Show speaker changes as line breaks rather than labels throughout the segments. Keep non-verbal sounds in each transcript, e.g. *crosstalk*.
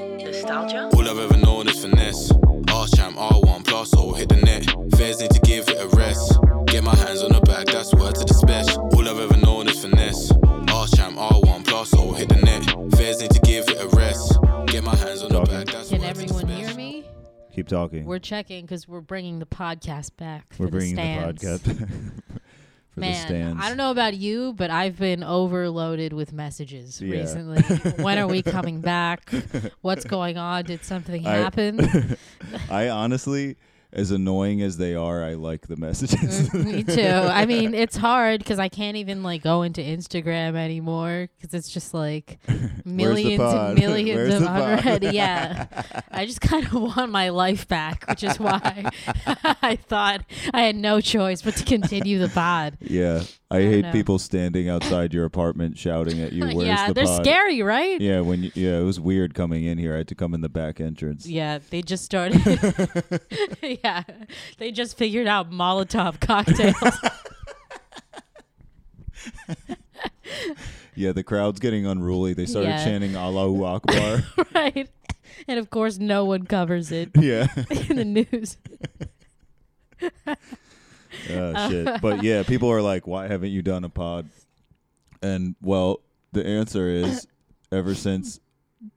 Nostalgia?
All I've ever known is finesse. Arse champ, R1 plus, or hit the net. Fairs need to give it a rest. Get my hands on the bag, that's word to the special. All I've ever known is finesse. Arse champ, R1 plus, or hit the net. Fairs need to give it a rest. Get my hands on the
Talking.
bag, that's
Can
word to the
everyone
special.
hear me?
Keep talking.
We're checking because we're bringing the podcast back. For
We're
the
bringing the,
stands.
podcast *laughs* for
Man,
the stands.
I don't know *laughs* about you, but I've been overloaded with messages
Yeah.
recently. when are we
*laughs*
coming back? What's going on? Did something
I-
happen?
I honestly, as annoying as they are, I like the messages.
Me too. I mean, it's hard because I can't even like go into Instagram anymore because it's just
*laughs*
like millions
pod? *laughs*
and millions
Where's
of
the pod?
already.
*laughs*
Yeah, I just kind of want my life back, which is why *laughs* I thought I had no choice but to continue the pod.
*laughs* yeah, I,
don't
hate
know.
people standing outside your apartment shouting
*laughs*
at you. *laughs* Where's
yeah,
the
they're
pod?
scary, right?
Yeah, when you, yeah, it was weird coming in here. I had to come in the back entrance.
Yeah, they
*laughs*
just started. *laughs* yeah, they just figured out Molotov cocktails. *laughs*
Yeah, the crowd's getting unruly. They started
Yeah.
chanting
*laughs*
Allahu Akbar. *laughs*
right? And of course, no one covers it *laughs*
yeah.
in the news. Uh,
oh shit.
*laughs*
But yeah, people are like, "Why haven't you done a pod?" And well, the answer is ever since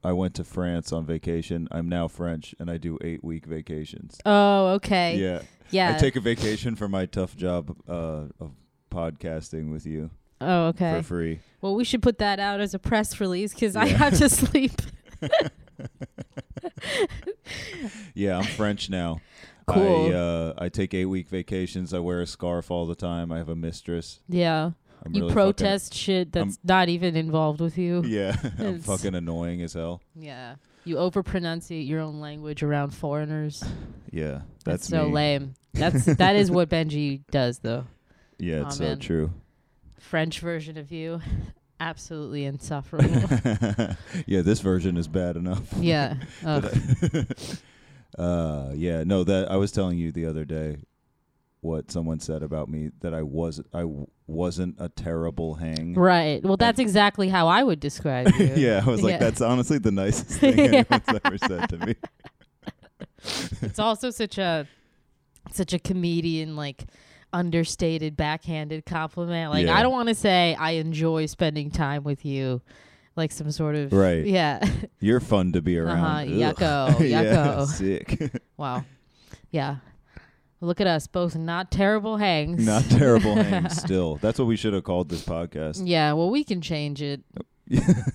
I went to France on vacation, I'm now French and I do 8-week vacations.
Oh, okay.
yeah.
Yeah.
I take a vacation for my tough job uh, of podcasting with you
oh, okay.
for free.
well, we should put that out as a press release because I
Yeah.
have to *laughs* sleep.
Yeah, I'm French now.
*laughs* Cool.
I uh, I take 8-week vacations. I wear a scarf all the time. I have a mistress.
Yeah.
I'm
you
really fucking-
protest shit that's
I'm-
not even involved with you.
*laughs* yeah, I'm
It's-
fucking annoying as hell.
Yeah. You overpronunciate your own language around foreigners.
Yeah, that's,
That's, so
me.
*laughs* lame. That's that is what Benji does though.
Yeah,
Aw,
it's
man.
so true. *laughs*
French version of you. Absolutely *laughs* insufferable.
yeah, this version is bad enough.
yeah. Ugh.
*laughs* Uh, yeah, no, that I was telling you the other day what someone said about me that I was I w- wasn't a terrible hang.
Right. Well, that's exactly how I would *laughs* describe you.
*laughs* yeah, I was like,
Yeah.
that's honestly the
*laughs*
nicest thing anyone's ever said to me.
It's also such a such a comedian like understated backhanded compliment. Like
Yeah.
I don't want to say I enjoy spending time with you. Like some sort of
Right.
Yeah. *laughs*
You're fun to be
Uh-huh,
around. Ugh. *laughs*
yucko,
yeah,
yucko.
sick. *laughs*
wow. Yeah. Look at us both not terrible hangs. *laughs*
Not terrible hang. Still, that's what we should have called this podcast.
Yeah, well we can change it.
*laughs*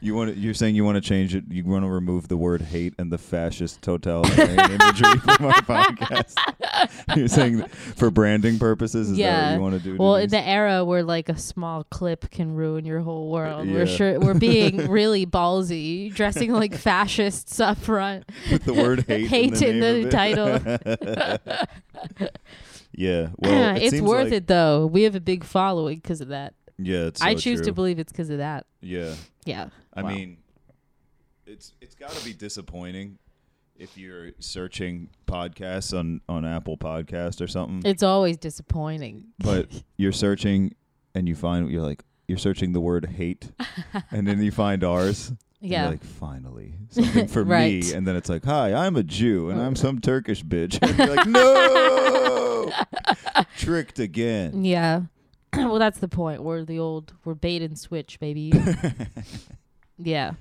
You want to, you're saying you want to change it. You want to remove the word hate and the fascist
*laughs*
totalitarian imagery from our podcast. *laughs* you're saying that for branding purposes. Is that
Yeah.
what you want to do?
Well, in
Denise?
the era where like a small clip can ruin your whole world,
yeah.
we're sure
*laughs*
we're being really ballsy, dressing like fascists up front.
with the word hate,
hate
in
in
the, name
the
of it.
title.
*laughs*
*laughs*
Yeah,
*clears throat*
well, it
it's
seems
worth
like-
it though. We have a big following because of that.
Yeah, it's
I
so
choose to
true.
believe it's because of that.
Yeah,
Yeah.
I
Wow.
mean, it's it's got to be disappointing if you're searching podcasts on on Apple Podcast or something.
it's always disappointing. *laughs*
but you're searching and you find you're like you're searching the word hate and then you find ours and you're
Yeah.
like finally something
*laughs*
for
Right.
me and then it's like hi i'm a jew and i'm some turkish
*laughs*
bitch and you're like no tricked again
yeah. *clears throat* well, that's the point. We're the old, we're bait and switch,
*laughs*
baby. yeah.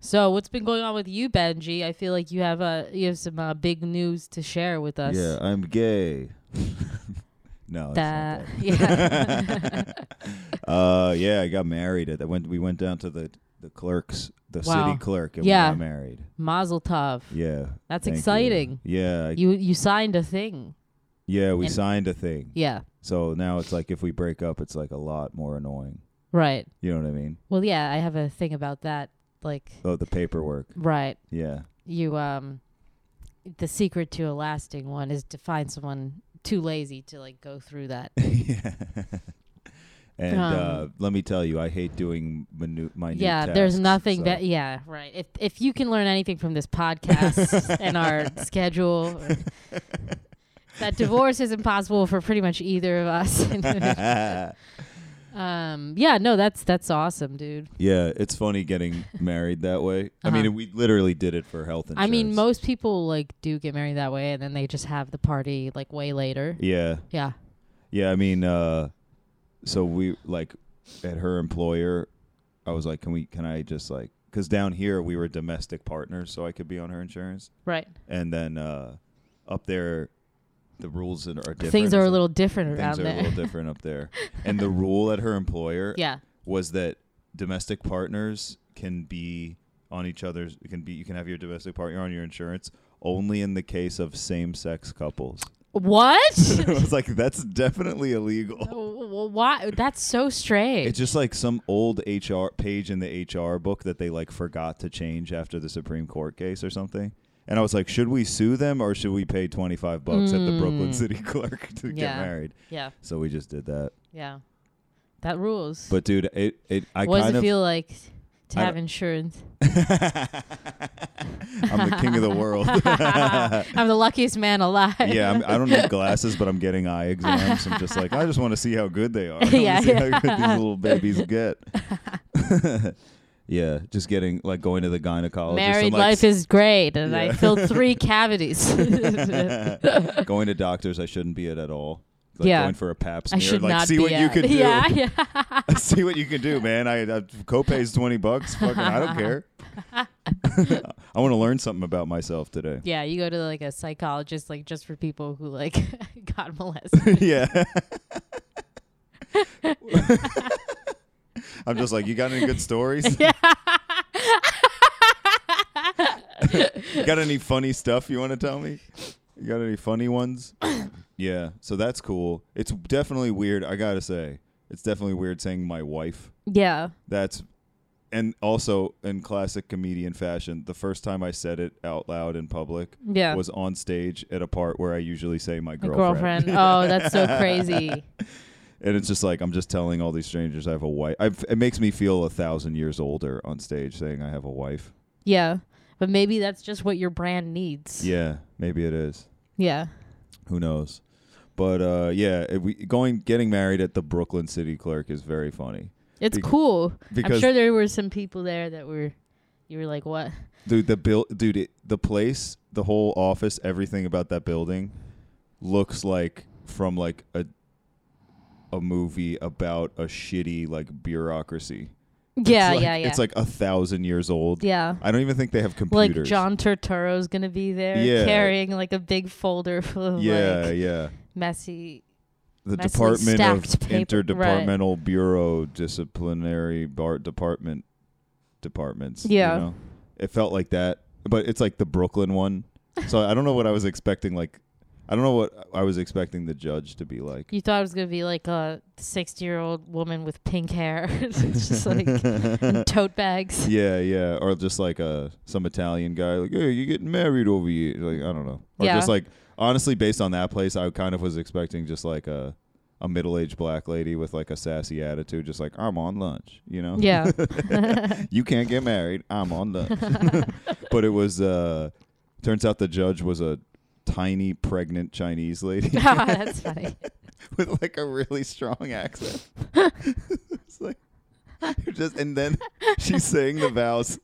So what's been going on with you, Benji? I feel like you have uh, you have some uh, big news to share with us.
yeah i'm gay *laughs* no it's not
That,
that. *laughs*
yeah.
uh yeah i got married at that went we went down to the the clerk's the
Wow.
city clerk and
Yeah.
we got married
Mazel tov.
yeah
That's
thank you.
exciting.
yeah I-
You you signed a thing.
yeah we
and-
signed a thing
Yeah.
So now it's like if we break up, it's like a lot more annoying.
Right.
You know what I mean?
Well, yeah, I have a thing about that. Like,
Oh, the paperwork.
right,
Yeah. *laughs*
you um, the secret to a lasting one is to find someone too lazy to like go through that.
yeah. And uh,
Um,
let me tell you, I hate doing minute, minute
yeah, there's
tasks,
nothing
so-
that. Yeah, right. If if you can learn anything from this
*laughs*
podcast and our schedule. or- that divorce is impossible for pretty much either of us. *laughs* Um, yeah, no, that's that's awesome, dude.
*laughs* Yeah, it's funny getting married that way. I
Uh-huh.
mean, we literally did it for health insurance.
I mean, most people like do get married that way, and then they just have the party like way later.
Yeah,
Yeah.
yeah. I mean, uh, so we like at her employer. I was like, can we? Can I just like? Because down here we were domestic partners, so I could be on her insurance.
Right.
And then uh, up there, the rules are different.
Things
or
are a
something.
little different around
Things are
there.
a little different up there. And the rule at her employer
*laughs* yeah.
was that domestic partners can be on each other's can be you can have your domestic partner on your insurance only in the case of same-sex couples. *laughs*
What?
I was like that's definitely illegal.
Wh- wh- Why? That's so strange.
It's just like some old HR page in the HR book that they like forgot to change after the Supreme Court case or something. And I was like, should we sue them or should we pay 25 bucks at the Brooklyn
Mm.
City Clerk to get
Yeah.
married?
yeah.
So we just did that.
Yeah. That rules.
But dude, it it I
what does
kind
it
of
feel like to
I
have
don't-
insurance?
*laughs* I'm the king of the
*laughs*
world. *laughs*
I'm the luckiest man alive.
yeah, I'm, I don't
*laughs*
need glasses, but I'm getting eye exams. I'm just like, I just want to see how good they are. I wanna
*laughs* Yeah,
see how
yeah.
good these little babies
*laughs*
get. *laughs* yeah, just getting like going to the gynecologist.
Married
and, like,
life is great, and I
Yeah.
filled
*laughs*
three cavities.
going to doctors. I shouldn't be at at all. Like
Yeah.
going for a pap
I
smear.
should
like,
not
see
be
what
at.
you
*laughs*
can do.
Yeah,
*laughs*
yeah.
see what you can do, man. I, I copay's twenty bucks. Fucking, I don't
*laughs*
care. *laughs* I want to learn something about myself today.
Yeah, you go to like a psychologist, like just for people who like *laughs* got
*laughs*
molested. *laughs*
yeah. I'm just like, you got any good stories?
*laughs* yeah.
You got any funny stuff you want to tell me? You got any funny ones? yeah, so that's cool. It's definitely weird. I gotta say, it's definitely weird saying my wife.
Yeah.
That's, and also in classic comedian fashion, the first time I said it out loud in public
Yeah.
was on stage at a part where I usually say my
A
girlfriend.
girlfriend. Oh, that's
*laughs*
so crazy.
and it's just like I'm just telling all these strangers I have a wife. I've, it makes me feel a thousand years older on stage saying I have a wife.
Yeah. But maybe that's just what your brand needs.
Yeah, maybe it is.
Yeah.
Who knows? But uh, yeah, it, we, going getting married at the Brooklyn City Clerk is very funny
It's
Bec-
cool.
because
I'm sure there were some people there that were you were like, "What?"
dude, the bill, dude, it, the place, the whole office, everything about that building looks like from like a a movie about a shitty like bureaucracy.
Yeah,
It's like-
yeah, yeah.
It's like a thousand years old.
yeah.
I don't even think they have computers.
Like John Turturro's going to be there
Yeah.
carrying like a big folder full of
Yeah,
like
yeah.
messy
The
messily
Department of
stacked paper-
Interdepartmental Bureau Disciplinary Bar Department departments. you
Yeah.
know? It felt like that, but it's like the Brooklyn
*laughs*
one. So I don't know what I was expecting. Like, I don't know what I was expecting the judge to be like.
You thought it was gonna be like a sixty-year-old woman with pink hair, *laughs* It's just like
*laughs*
and tote bags.
Yeah, yeah, or just like uh some Italian guy, like, hey, you getting married over here? Like, I don't know, or
Yeah.
just like honestly, based on that place, I kind of was expecting just like a a middle aged black lady with like a sassy attitude, just like I'm on lunch, you know?
Yeah, *laughs*
you can't get married. I'm on lunch. *laughs* but it was uh, turns out the judge was a tiny pregnant Chinese
*laughs*
lady *laughs*
that's funny. *laughs*
with like a really strong accent. *laughs* it's like you're just and then she's saying the vows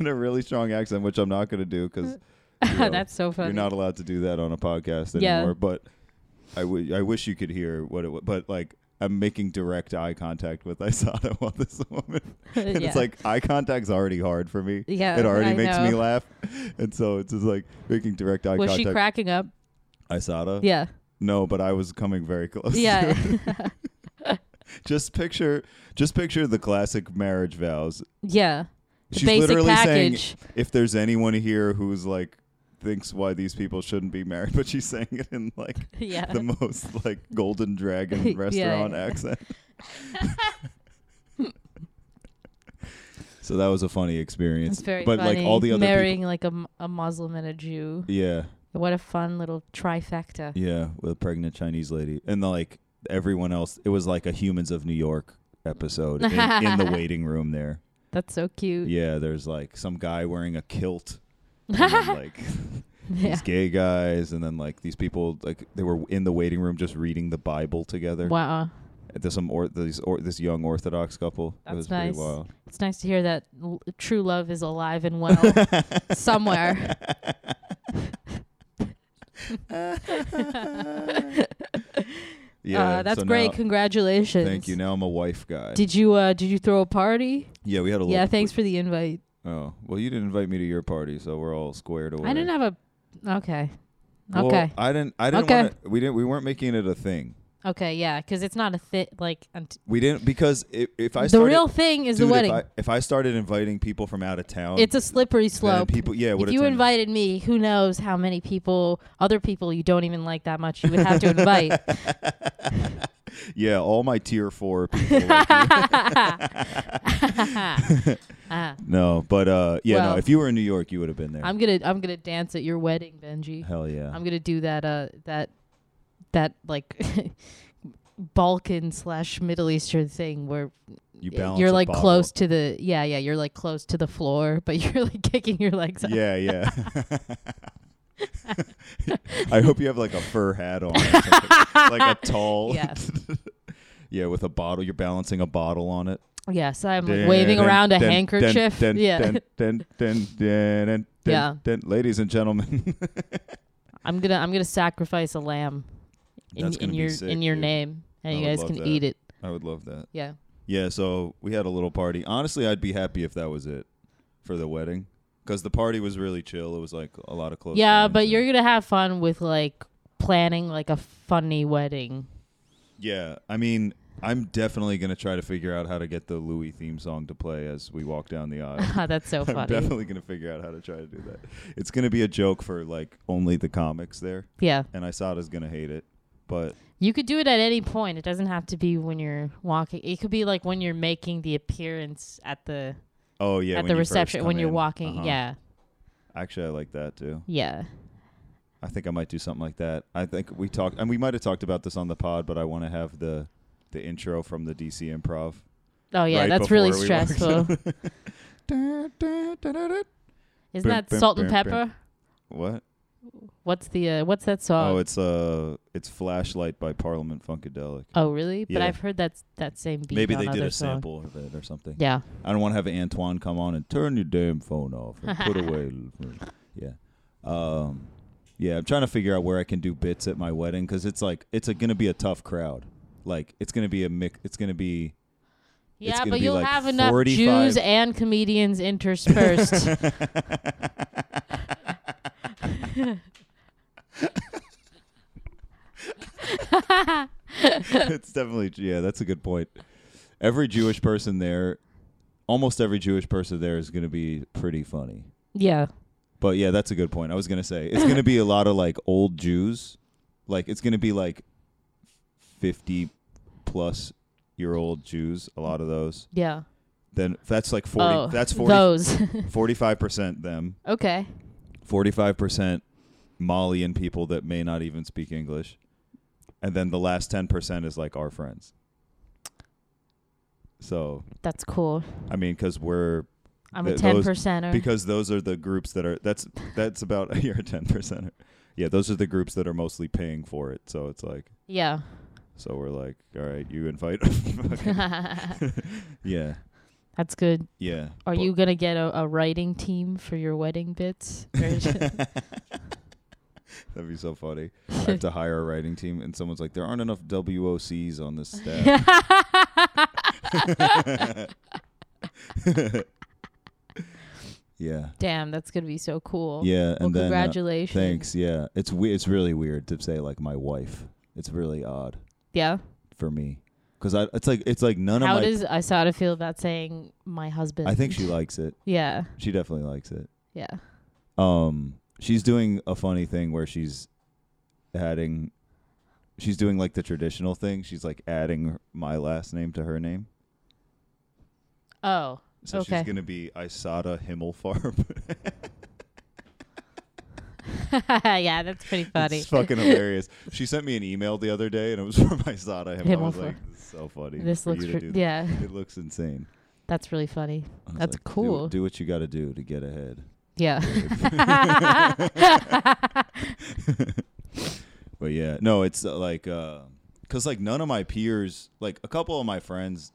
in a really strong accent, which I'm not gonna do
*laughs*
because
that's so funny.
you're
*laughs*
not *laughs* allowed to do that on a podcast
Yeah.
anymore. But I wi- I wish you could hear what it was. But like I'm making direct eye contact with Isada *laughs* while this woman. *laughs* And
Yeah.
It's like eye contact's already hard for me.
Yeah,
it already
I
makes me
know.
laugh, *laughs* and so it's just like making direct eye
was she
contact.
cracking up?
Isada.
Yeah,
No, but I was coming very *laughs* close.
yeah, *laughs*
just picture just picture the classic marriage vows.
yeah. The
She's
basic
literally
package. *laughs*
saying if there's anyone here who's like thinks why these people shouldn't be married, *laughs* but she's saying it in like
yeah,
the most like golden dragon
*laughs* Yeah,
restaurant
yeah.
accent. so that was a funny experience.
it's very
but
funny.
like all the other
marrying like a, m- a Muslim and a Jew.
people, Yeah.
What a fun little trifecta.
Yeah, with a pregnant Chinese lady. And the, like everyone else it was like a humans of New York episode in, in
*laughs*
the waiting room there.
That's so cute.
Yeah, there's like some guy wearing a kilt, and then, like
*laughs* Yeah.
these gay guys, and then like these people like they were in the waiting room just reading the Bible together,
Wow.
There's some or, these or, this young Orthodox couple.
That's
it was
nice.
pretty wild.
It's nice to hear that l- true love is alive and well
*laughs*
somewhere. *laughs*
Yeah,
uh, that's
so
great.
now-
Congratulations.
thank you. Now I'm a wife guy.
Did you uh did you throw a party?
yeah, we had a
Yeah,
little-
thanks for the invite.
Oh well, you didn't invite me to your party, so we're all squared away.
I didn't have a Okay.
Well,
okay.
I didn't. I didn't.
Okay.
Wanna, we didn't. We weren't making it a thing.
Okay, yeah, cuz it's not a fit like unt-
We didn't because if, if I
the
started,
real thing is
dude,
the wedding.
If I, if I started inviting people from out of town,
it's a slippery
then
slope.
people. Yeah,
if
would
you
attend.
invited me, who knows how many people, other people you don't even like that much, you would have to
*laughs*
invite.
Yeah, all my tier
*laughs*
four people. like you.
*laughs* Ah,
no, but uh, yeah,
Well-
no. If you were in New York, you would have been there.
I'm gonna I'm gonna dance at your wedding, Benji.
Hell yeah.
I'm gonna do that uh that that like *laughs* Balkan slash Middle Eastern thing where
you
y-
balance.
you're
a
like
bottle.
close to the yeah yeah you're like close to the floor but *laughs* you're like kicking your legs up. *laughs*
Yeah, yeah. I hope you have like a fur hat on, or something. like a
*laughs*
tall.
Yes.
*laughs* yeah, with a bottle. You're balancing a bottle on it.
Yes, I'm like waving
Dun,
around
dun,
a
dun,
handkerchief.
dun,
yeah.
dun, dun, dun, dun, dun,
Yeah.
dun. Ladies and gentlemen. *laughs*
I'm gonna I'm gonna sacrifice a lamb in,
That's
in
gonna be
your
sick,
in your
dude.
name
I
and you
would
guys
love
can
that.
eat it.
I would love that.
Yeah.
Yeah, so we had a little party. Honestly, I'd be happy if that was it for the wedding because the party was really chill. It was like a lot of close.
yeah,
friends
but
and-
you're gonna have fun with like planning like a funny wedding. *laughs*
Yeah, I mean, I'm definitely gonna try to figure out how to get the Louis theme song to play as we walk down the aisle.
Ah,
*laughs*
That's *laughs* so
I'm
funny.
definitely gonna figure out how to try to do that. It's gonna be a joke for like only the comics there,
Yeah.
and Isada's gonna hate it. But
You could do it at any point. It doesn't have to be when you're walking. It could be like when you're making the appearance at the
oh yeah,
at
when
the
you first
reception
come
when you're
in.
walking.
Uh-huh.
Yeah.
actually, I like that too.
Yeah.
I think I might do something like that. I think we talked, and we might have talked about this on the pod, but I want to have the the intro from the DC Improv.
Oh yeah,
right
that's really
before we walk *laughs*
stressful. Isn't
Bum,
that
bum,
salt and
bum, bum.
pepper?
*laughs* What?
What's the uh, what's that song?
Oh, it's uh, it's Flashlight by Parliament Funkadelic.
Oh, really? But
Yeah.
I've heard that's that same beat.
Maybe
on
they did
other
a
song.
sample of it or something.
Yeah.
I don't want to have Antoine come on and turn your damn phone off and put away. Yeah. Um, yeah, I'm trying to figure out where I can do bits at my wedding because it's like it's a, gonna be a tough crowd. Like it's gonna be a mix. It's gonna be It's
Yeah,
gonna
but
be
you'll
like
have enough
45
Jews and comedians interspersed.
*laughs* it's definitely yeah. That's a good point. Every Jewish person there, almost every Jewish person there is gonna be pretty funny.
yeah.
But yeah, that's a good point. I was gonna say it's gonna be a lot of like old Jews, like it's gonna be like fifty plus year old Jews. A lot of those.
Yeah.
Then that's like forty.
oh,
that's *laughs*
those.
45 percent them.
okay.
Forty five percent Malian people that may not even speak English, and then the last ten percent is like our friends. So
That's cool.
I mean, because we're
I'm a
Th-
ten
those-
percenter.
because those are the groups that are that's that's about *laughs* you're a ten percenter. Yeah, those are the groups that are mostly paying for it. So it's like *laughs*
yeah. *laughs*
so we're like, all right, you invite. *laughs*
*laughs*
yeah,
That's good.
yeah.
Are
But-
you gonna get a, a writing team for your wedding
*laughs*
bits? Or *laughs* is it-
That'd be so funny. I have to hire a writing team, and someone's like, there aren't enough WOCs on
*laughs*
this staff. yeah,
Damn, that's gonna be so cool.
yeah,
Well,
and then uh,
congratulations.
thanks. Yeah, it's we- it's really weird to say like my wife. It's really odd.
Yeah.
for me because I it's like it's like none
How
of my.
does Isada feel about saying my husband?
I think she likes it.
Yeah.
She definitely likes it.
Yeah.
Um, she's doing a funny thing where she's adding. She's doing like the traditional thing. She's like adding my last name to her name.
Oh. *laughs*
So
Okay.
she's gonna be Isada Himmelfarb. *laughs*
yeah, that's pretty funny.
it's fucking hilarious. She sent me an email the other day, and it was *laughs* from Isada Himmelfarb. I was
Himmelfarb.
like, this is so funny.
This
for
looks,
you to
re-
do that."
yeah,
It looks insane.
that's really funny.
I was
That's
like, "Do-
cool.
do what you got to do to get
*laughs*
ahead.
Yeah.
*laughs* *laughs* But yeah, no, it's uh, like uh, because like none of my peers, like a couple of my friends,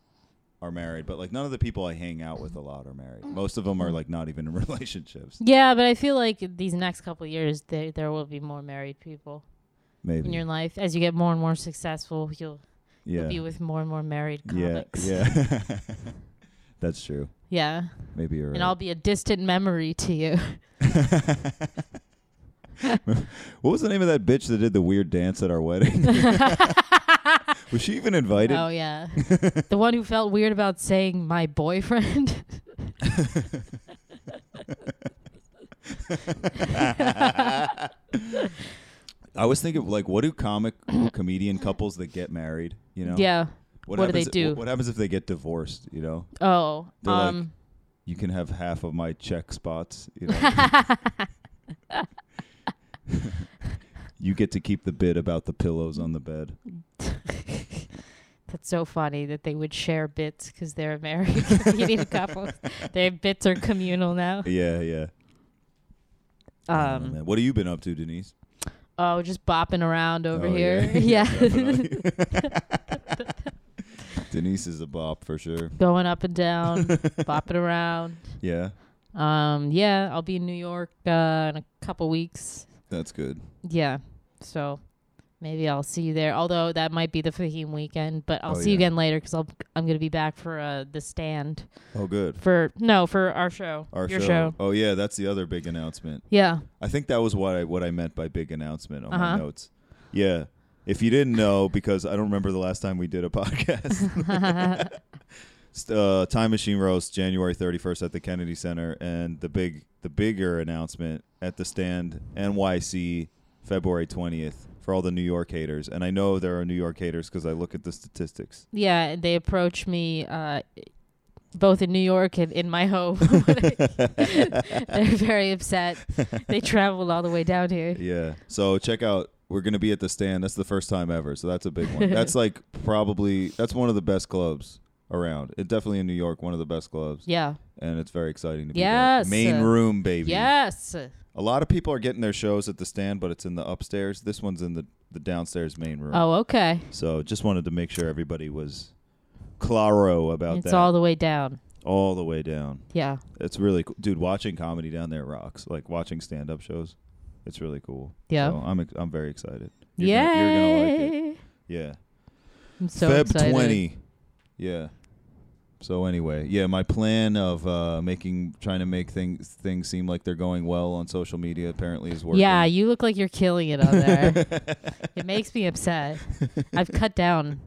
are married, but like none of the people I hang out with a lot are married. Most of them are like not even in *laughs* relationships.
*laughs* Yeah, but I feel like these next couple of years, there there will be more married people in your
Maybe.
life as you get more and more successful. You'll, you'll be
Yeah.
with more and more married
Yeah.
comics.
Yeah. *laughs* That's true.
Yeah.
Maybe you're right.
and I'll be a distant memory to you.
what was the name of that bitch that did the weird dance at our
*laughs*
wedding? *laughs* was she even invited? *laughs*
oh yeah, the one who felt weird about saying my boyfriend.
*laughs* I was thinking, like, what do
*coughs*
comic comedian couples that get married? You know,
*laughs* Yeah. what do they
happens-
do?
What, happens if they get divorced? You know,
Oh.
They're like-
um. *laughs*
you can have half of my check spots. You know,
*laughs*
you get to keep the bit about the pillows on the bed.
That's so funny that they would share bits because
*laughs*
they're American comedian couples. Their bits are communal now.
Yeah, yeah. I don't know,
Um,
man. what have you been up to,
*laughs*
Denise?
oh, just bopping around over
Oh,
here.
*laughs*
*laughs*
Yeah.
Yeah.
definitely. uh, *laughs* Denise is a bop for sure.
Going up and
*laughs*
down, bopping around.
Yeah,
Um, yeah, I'll be in New York uh, in a couple weeks.
that's good.
Yeah. So maybe I'll see you there. Although that might be the Fahim weekend, but I'll
Oh,
see you
yeah.
again later because I'll I'm gonna be back for uh the stand
Oh, good.
for no for our show
Our
your
Oh, yeah, that's the other big announcement.
yeah
I think that was what I what I meant by big announcement on my
Uh-huh.
notes. Yeah. If you didn't know, because I don't remember the last time we did a *laughs* podcast. St- uh, Time Machine Roast, January thirty first at the Kennedy Center, and the big the bigger announcement at the stand NYC February twentieth for all the New York haters. And I know there are New York haters because I look at the statistics.
yeah and they approached me uh both in New York and in my home *laughs* they're
*laughs*
very upset they traveled all the way down here
Yeah. So check out. We're gonna be at the stand. That's the first time ever. So that's a big one.
*laughs*
That's like probably that's one of the best clubs around. It definitely in New York, one of the best clubs,
yeah
and it's very exciting to be
Yes.
there. Main room, baby.
yes
A lot of people are getting their shows at the stand, but it's in the upstairs. This one's in the the downstairs main room.
oh okay
So just wanted to make sure everybody was claro about
it's
that
all the way down
all the way down.
yeah
It's really cool, dude. Watching comedy down there rocks. Like watching stand up shows, it's really cool.
Yeah.
So I'm ex- I'm very excited. You're
yeah
Gonna, you're gonna like it. Yeah.
I'm so
Feb
excited
20. Yeah. So anyway, yeah, my plan of uh, making trying to make things things seem like they're going well on social media apparently is working.
yeah you look like you're killing it
*laughs*
on there it makes me upset I've cut down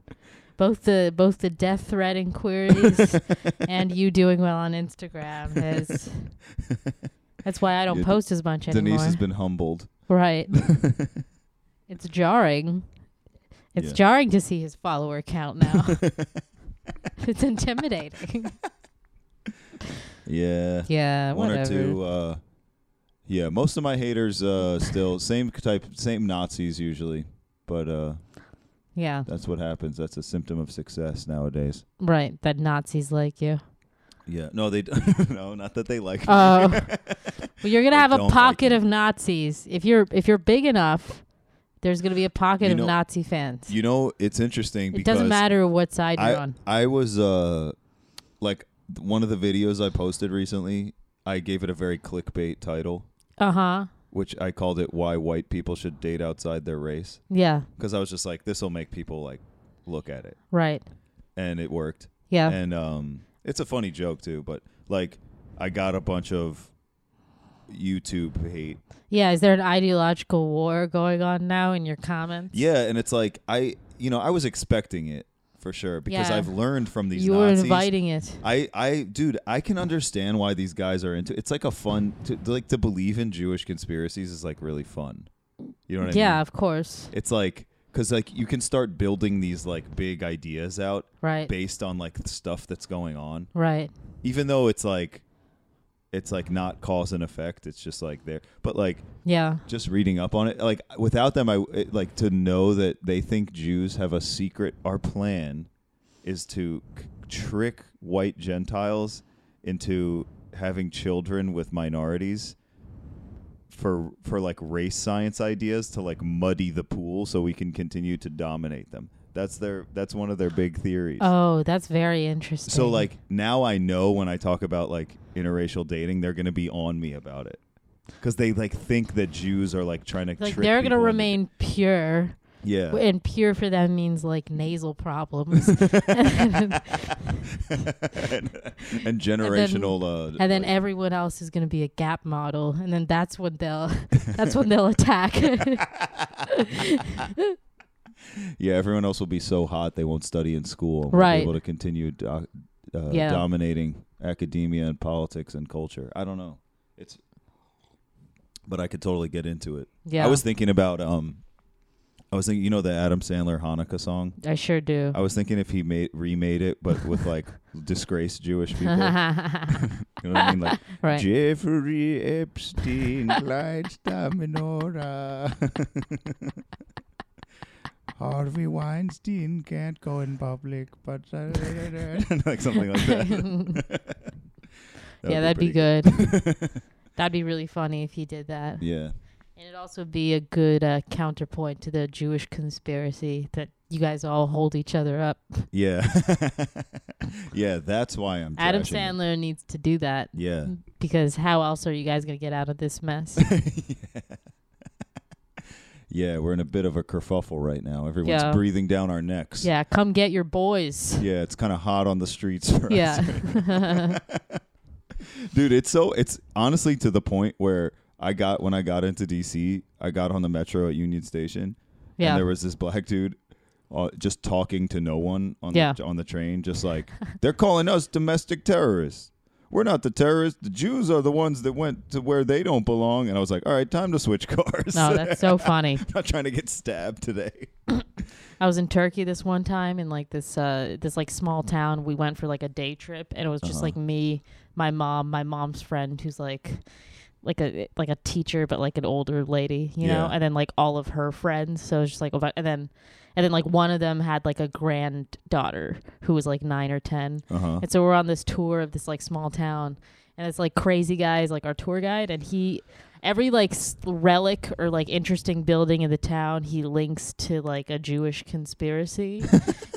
both the both the death threat inquiries
*laughs*
and you doing well on Instagram is that's why I don't
Yeah, De-
post as much
Denise
anymore.
has been humbled. *laughs*
right. it's jarring. It's
Yeah.
jarring to see his follower count
*laughs*
now. it's intimidating.
Yeah.
Yeah,
One
whatever.
or two uh yeah, most of my haters uh still same type same Nazis usually, but uh
Yeah,
that's what happens. That's a symptom of success nowadays.
right. That Nazis like you.
Yeah. No, they *laughs* d- no, not that they like *laughs*
Oh, well, you're gonna
They
have
don't
a
like
pocket
you.
of Nazis if you're if you're big enough. There's gonna be a pocket
You
of
know-
Nazi fans.
You know, it's interesting
It
because
doesn't matter what side you're
I
on.
I was uh like th- one of the videos I posted recently, I gave it a very clickbait title,
Uh huh.
which I called it "Why White People Should Date Outside Their Race"
Yeah.
because I was just like, this will make people like look at it,
Right.
and it worked.
Yeah.
And um, it's a funny joke too, but like I got a bunch of YouTube hate
yeah. Is there an ideological war going on now in your comments?
Yeah, and it's like I, you know, I was expecting it for sure because
Yeah.
I've learned from these.
you were
Nazis.
inviting it.
I, I, dude, I can understand why these guys are into. It's like a fun, to, like to believe in Jewish conspiracies is like really fun. You know what I mean?
yeah, of course.
It's like because like you can start building these like big ideas out
Right.
based on like stuff that's going on,
right.
even though it's like, it's like not cause and effect. It's just like there, but like
Yeah.
just reading up on it like without them i it- like to know that they think jews have a secret our plan is to c- trick white gentiles into having children with minorities for for like race science ideas to like muddy the pool so we can continue to dominate them That's their that's one of their big theories.
Oh, that's very interesting.
so like now I know when I talk about like interracial dating, they're gonna be on me about it because they like think that Jews are like trying to
like
trick
they're gonna
people into-
remain pure,
*laughs* yeah *laughs*
and pure for them means like nasal problems, *laughs*
and, and generational uh,
and then
like-
everyone else is gonna be a gap model, and then that's when they'll *laughs* that's when they'll attack.
*laughs* yeah everyone else will be so hot they won't study in school and won't
Right.
be able to continue do- uh,
Yeah.
dominating academia and politics and culture i don't know it's but i could totally get into it
*laughs* yeah,
i was thinking about um i was thinking you know the adam sandler hanukkah song
I sure do.
i was thinking if he made remade it but with
*laughs*
like disgraced jewish people you
right.
know what i mean like
*laughs*
Jeffrey Epstein lights the menorah. *laughs* Harvey Weinstein can't go in public, but *laughs* like something like
*laughs*
that.
yeah, that'd be good. *laughs* that'd be really funny if he did
*laughs*
that.
Yeah,
And it'd also be a good uh, counterpoint to the Jewish conspiracy that you guys all hold each other up.
*laughs* yeah, yeah. That's why I'm
Adam
trashing it.
Sandler Mm-hmm. needs to do that
Yeah,
because how else are you guys going to get out of this mess?
*laughs* yeah. We're in a bit of a kerfuffle right now. Everyone's
Yeah.
breathing down our necks.
yeah, come get your boys.
Yeah, it's kind of hot on the streets for us
Yeah.
*laughs* dude it's so it's honestly to the point where i got when i got into dc i got on the metro at union station
yeah.
and there was this black dude uh, just talking to no one on
Yeah.
the on the train just like they're calling us domestic terrorists we're not the terrorists the jews are the ones that went to where they don't belong and i was like all right time to switch *laughs* cars
no, that's so funny.
i'm not trying to get stabbed today
I was in Turkey this one time in like this uh this like small town. We went for like a day trip and it was just
Uh-huh.
like me, my mom, my mom's friend who's like like a like a teacher but like an older lady, you know,
Yeah.
and then like all of her friends. So it was just like about- and then and then like one of them had like a granddaughter who was like 9 or 10.
uh-huh
And so we're on this tour of this like small town, and it's like crazy guys like our tour guide, and he every like s- relic or like interesting building in the town he links to like a Jewish conspiracy.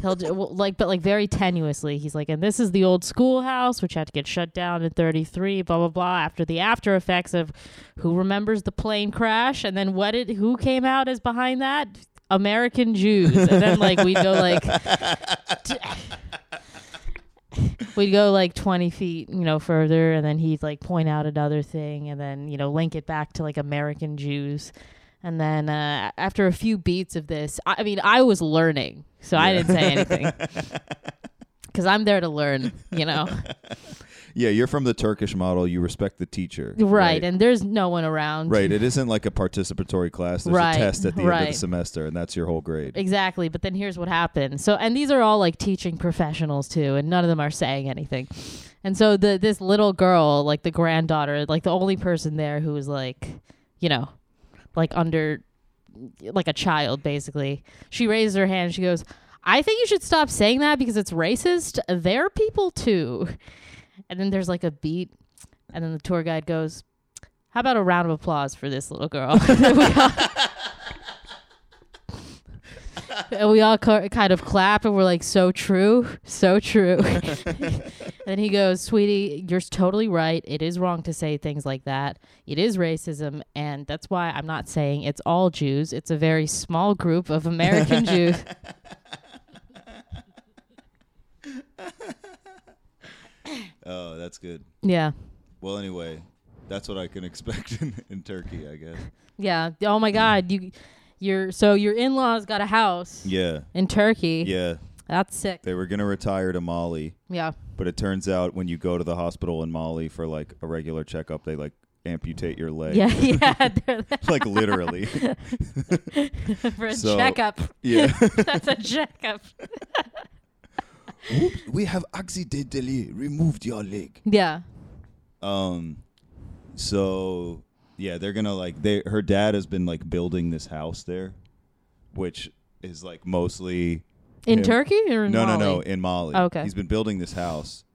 He'll do, well, like but like very tenuously. He's like, and this is the old schoolhouse which had to get shut down in '33. Blah blah blah. After the after effects of who remembers the plane crash, and then what did who came out as behind that. American Jews, and then like we go like we'd go like 20 feet you know further and then he'd like point out another thing and then you know link it back to like american jews and then uh, after a few beats of this i, I mean i was learning so i didn't say anything because i'm there to learn you know
yeah you're from the turkish model you respect the teacher
right, and there's no one around
Right. It isn't like a participatory class. There's
Right,
a test at the end of
right.
the semester, and that's your whole grade.
exactly but then here's what happened so and these are all like teaching professionals too and none of them are saying anything and so the this little girl like the granddaughter like the only person there who was like you know like under like a child basically she raises her hand and she goes i think you should stop saying that because it's racist they're people too and then there's like a beat and then the tour guide goes how about a round of applause for this little girl *laughs* and we all co- kind of clap and we're like so true
*laughs*
so true *laughs* and he goes sweetie you're totally right it is wrong to say things like that it is racism and that's why i'm not saying it's all jews it's a very small group of american
*laughs*
jews
Oh, that's good.
yeah
Well, anyway, that's what I can expect *laughs* in, in Turkey, I guess.
yeah oh my god you you're so your in-laws got a house
Yeah.
in turkey
Yeah.
that's sick
They were going to retire to Mali,
yeah
but it turns out when you go to the hospital in Mali for like a regular checkup, they like amputate your leg. *laughs*
yeah *laughs* yeah they're there
like
*laughs*
literally.
for
*laughs*
a
So-
checkup
yeah.
*laughs* that's a checkup
*laughs* Oops, we have accidentally removed your leg.
yeah
Um, so yeah, they're gonna like they. Her dad has been like building this house there, which is like mostly
in
him-
turkey or in
No, no, no,
Mali?
in Mali.
Oh, okay.
he's been building this house,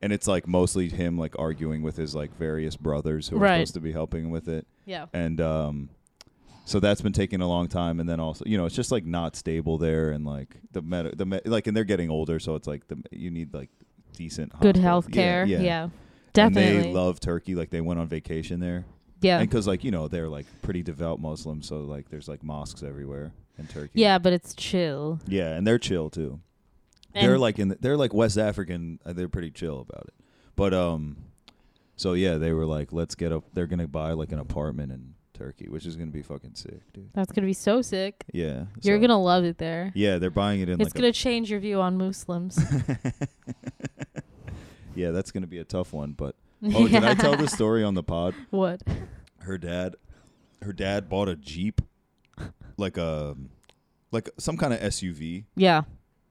and it's like mostly him like arguing with his like various brothers who are
Right.
supposed to be helping him with it,
yeah
and um. So that's been taking a long time, and then also, you know, it's just like not stable there, and like the med, the med- like, and they're getting older, so it's like the you need like decent
Good
hospital-
health care. Yeah,
Um, And
Definitely.
they love Turkey, like they went on vacation there,
yeah.
And 'cause because like you know they're like pretty devout Muslims, so like there's like mosques everywhere in Turkey.
Yeah, but it's chill.
yeah, and they're chill too. they're
And-
like in the, they're like West African. uh, They're pretty chill about it. But um, so yeah, they were like, let's get up. They're gonna buy like an apartment in Turkey, which is gonna be fucking sick, dude.
That's gonna be so sick.
Yeah,
You're
so-
gonna love it there.
Yeah, they're buying it in.
it's
like a- Oh,
gonna change your view on
*laughs*
Muslims. *laughs*
yeah, that's gonna be a tough one.
*laughs*
But oh, did I tell the story on the pod?
What?
Her dad, her dad bought a jeep, like a, like some kind of SUV
Yeah.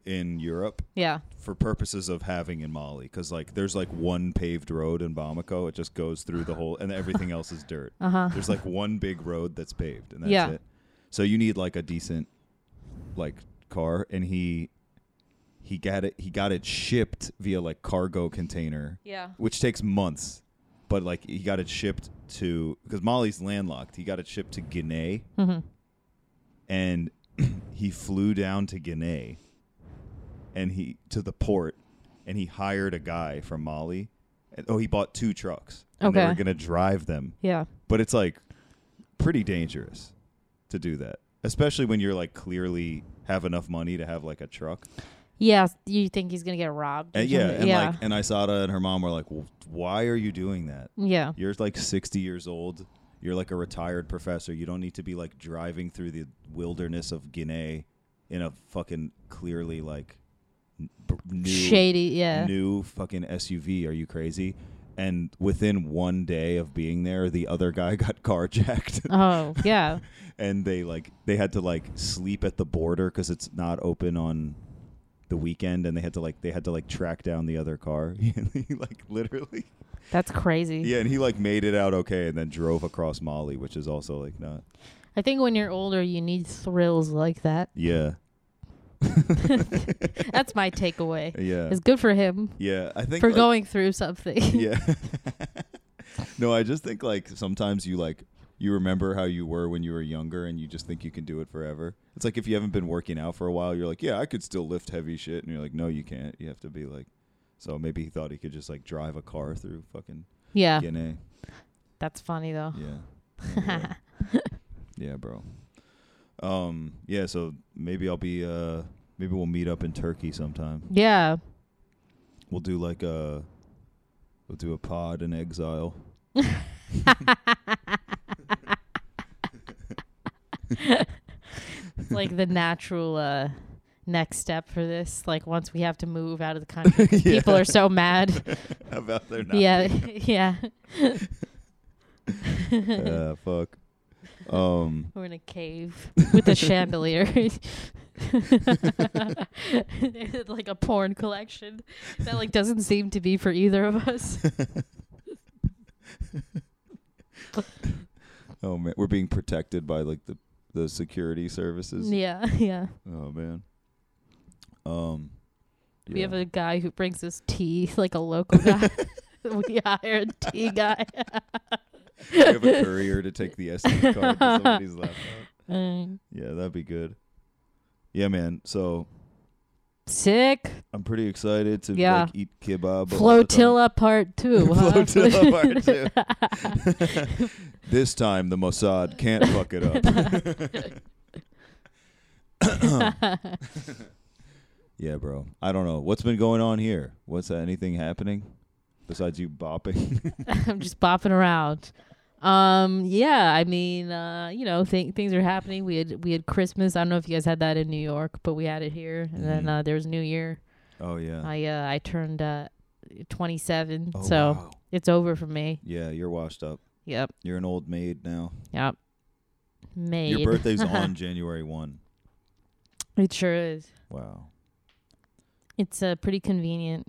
in Europe.
Yeah.
for purposes of having in Mali because like there's like one paved road in Bamako. It just goes through the whole, and everything else is dirt.
Uh huh.
There's like one big road that's paved, and that's
Yeah.
it. So you need like a decent like car, and he he got it. He got it shipped via like cargo container,
Yeah.
which takes months. But like he got it shipped to because Mali's landlocked. He got it shipped to Guinea,
Mm-hmm.
and *clears throat* he flew down to Guinea and he to the port and he hired a guy from Mali. And, oh, he bought two trucks. And They
Okay.
were going to drive them.
Yeah.
But it's like pretty dangerous to do that, especially when you're like clearly have enough money to have like a truck.
Yeah. You think he's gonna get robbed? or
And Uh, yeah,
something.
and
Yeah.
like and Isada and her mom were like, well, "Why are you doing that?
yeah.
You're like 60 years old. You're like a retired professor. You don't need to be like driving through the wilderness of Guinea in a fucking clearly like n- b- new
Shady. Yeah.
new fucking SUV. Are you crazy? And within one day of being there, the other guy *laughs* got carjacked,
Oh
*laughs*
yeah.
and they like they had to like sleep at the border because it's not open on the weekend, and they had to like they had to like track down the other car. *laughs* like literally,
That's crazy.
yeah, and he like made it out okay, and then drove across Mali, which is also like not.
I think when you're older, you need thrills
*laughs*
like that.
Yeah,
That's my takeaway.
yeah,
It's good for him
yeah. I think
for
like-
going through something.
*laughs* Yeah. *laughs* no, I just think like sometimes you like you remember how you were when you were younger, and you just think you can do it forever. It's like if you haven't been working out for a while, you're like, yeah, I could still lift heavy shit, and you're like, no, you can't. You have to be like. So maybe he thought he could just like drive a car through fucking
*laughs* yeah.
Guinea.
That's funny though.
Yeah.
*laughs*
Yeah, yeah, bro. Um, yeah, so maybe I'll be uh maybe we'll meet up in Turkey *laughs* sometime.
Yeah.
We'll do like a we'll do a pod in exile.
It's like the natural uh next step for this. Like once we have to move out of the country, 'cause
Yeah.
people are so mad.
About their
yeah. *laughs* yeah. *laughs*
Yeah, fuck. Um
We're in a cave with a chandelier. *laughs* There's like a porn collection that like doesn't seem to be for either of us.
oh man, we're being protected by like the the security services.
Yeah, yeah.
Oh man. Um
We
yeah.
have a guy who brings us tea, *laughs* like a local
*laughs*
guy. we hire a tea guy.
We have a courier to take the SD card to
*laughs*
somebody's laptop.
Mm.
Yeah, that'd be good. Yeah, man. So
Sick
I'm pretty excited to
Yeah.
like eat kebab. a lot of *laughs*
flotilla part two. huh?
the time. Flotilla part two. this time the Mossad can't fuck it
*laughs*
up. yeah, bro. I don't know what's been going on here. What's uh, anything happening besides you bopping? *laughs*
*laughs* I'm just bopping around. Um, yeah, I mean, uh, you know, th- things are happening. We had we had Christmas. I don't know if you guys had that in New York, but we had it here. And then
Mhm.
uh, there was New Year.
oh yeah.
I uh, I turned uh, 27,
Oh,
so
wow.
it's over for me.
yeah, you're washed up.
Yep,
You're an old maid now.
yep. Made
Your
*laughs*
birthday's on January one.
It sure is.
Wow.
It's uh, pretty convenient.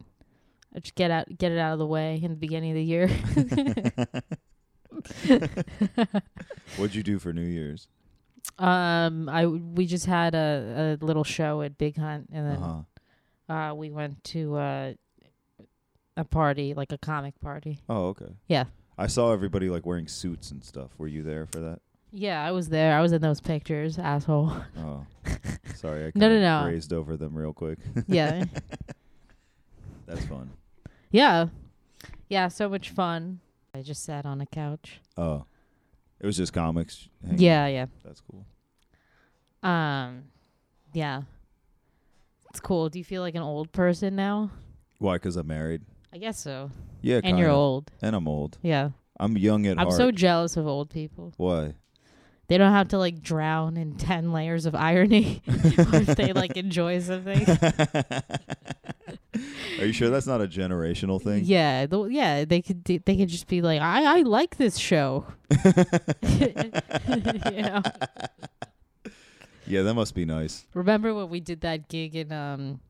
I just get out, get it out of the way in the beginning of the year. *laughs*
What'd you do for New Year's?
um, I we just had a, a little show at Big Hunt, and
Uh
then
huh.
Uh, we went to uh, a party, like a comic party.
Oh, okay.
Yeah.
I saw everybody like wearing suits and stuff. Were you there for that?
Yeah, I was there. I was in those
*laughs*
pictures, asshole.
Oh, sorry. I
*laughs* No, no,
kinda
no.
Grazed over them real quick. *laughs*
Yeah.
That's fun.
yeah. Yeah, so much fun. I just sat on a couch.
Oh, it was just comics. hanging.
Yeah, yeah.
that's cool.
Um yeah. It's cool. Do you feel like an old person now?
Why? Because I'm married.
I guess so.
Yeah,
and you're
kinda.
old.
and I'm old.
Yeah.
I'm young at
I'm
heart.
so jealous of old people. *laughs*
Why? *laughs*
They don't have to like drown in 10 layers of irony *laughs* if they like
*laughs*
enjoy something.
Are you sure that's not a generational thing?
Yeah, the, yeah, they could do, they could just be like, I I like this show. *laughs* you know?
Yeah, that must be nice.
Remember when we did that gig in um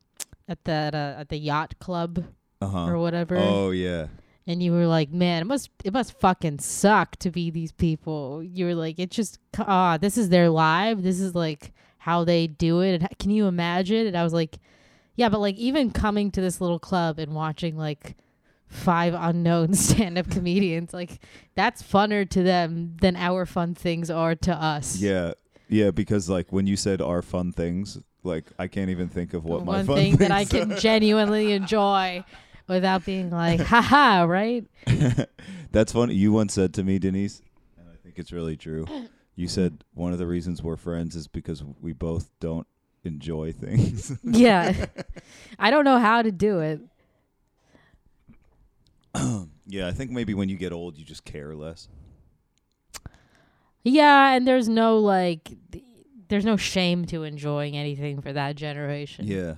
at that uh, at the yacht club
Uh
or
huh.
whatever,
Oh yeah.
and you were like, man, it must it must fucking suck to be these people. You were like, it just ah, this is their live. This is like how they do it. And h- Can you imagine? And I was like, yeah, but like even coming to this little club and watching like five unknown *laughs* stand-up comedians like that's funner to them than our fun things are to us
Yeah. Yeah, because like when you said our fun things, like I can't even think of what my
one
fun
thing that I
things
can genuinely enjoy without being like, haha, right?
That's funny. You once said to me, Denise, and I think it's really
*coughs*
true. You said one of the reasons we're friends is because we both don't enjoy *laughs* things. *laughs*
Yeah. I don't know how to do it.
yeah, I think maybe when you get old, you just care less.
Yeah, and there's no like th- there's no shame to enjoying anything for that generation.
Yeah.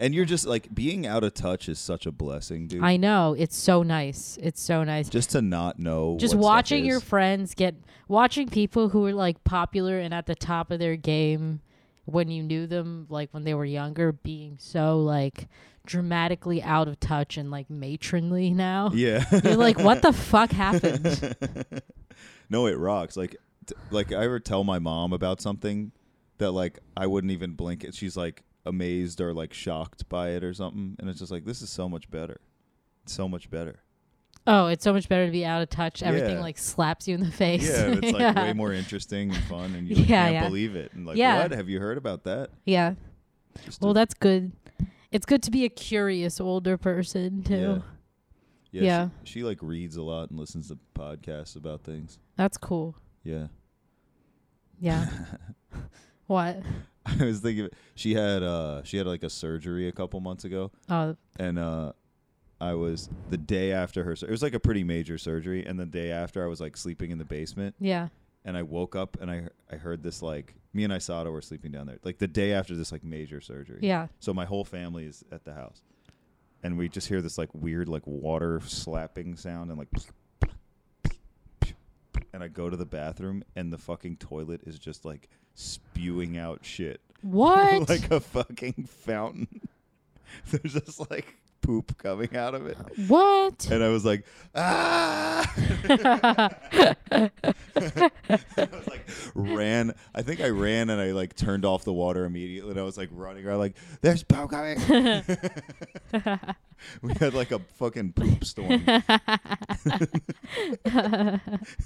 And you're just like being out of touch is such a blessing, dude.
I know. It's so nice. It's so nice.
just to not know.
Just
what stuff
watching your
is.
friends get watching people who were like popular and at the top of their game when you knew them like when they were younger being so like dramatically out of touch and like matronly now.
yeah. *laughs*
You're like, what the fuck happened?
no, it rocks. Like, t- like I ever tell my mom about something that like I wouldn't even blink at. She's like amazed or like shocked by it or something, and it's just like this is so much better, It's so much
*laughs*
better.
Oh, it's so much better to be out of touch. Everything
Yeah.
like slaps you in the face.
Yeah, and it's like
*laughs* yeah.
way more interesting and fun, and you like,
Yeah,
can't
yeah.
believe it. And like,
Yeah.
what have you heard about that?
Yeah.
Just
Well,
a-
that's good. It's good to be a curious older person too.
Yeah. yeah,
yeah.
She, she like reads a lot and listens to podcasts about things.
That's cool.
Yeah. *laughs*
Yeah. what?
I was thinking she had uh she had like a surgery a couple months ago
Oh,
and uh I was the day after her sur- it was like a pretty major surgery and the day after I was like sleeping in the basement
yeah.
and I woke up and I I heard this like me and Isato were sleeping down there like the day after this like major surgery. *laughs*
Yeah.
So my whole family is at the house. And we just hear this like weird like water slapping sound and like and I go to the bathroom and the fucking toilet is just like spewing out shit. *laughs*
What?
like a fucking fountain. *laughs* There's just like poop coming out of it. *laughs*
what? *laughs*
And I was like, ah! *laughs* I was like, ran. I think I ran and I like turned off the water immediately. And I was like running around like, there's poop coming. *laughs* we had like a fucking poop
*laughs*
storm *laughs*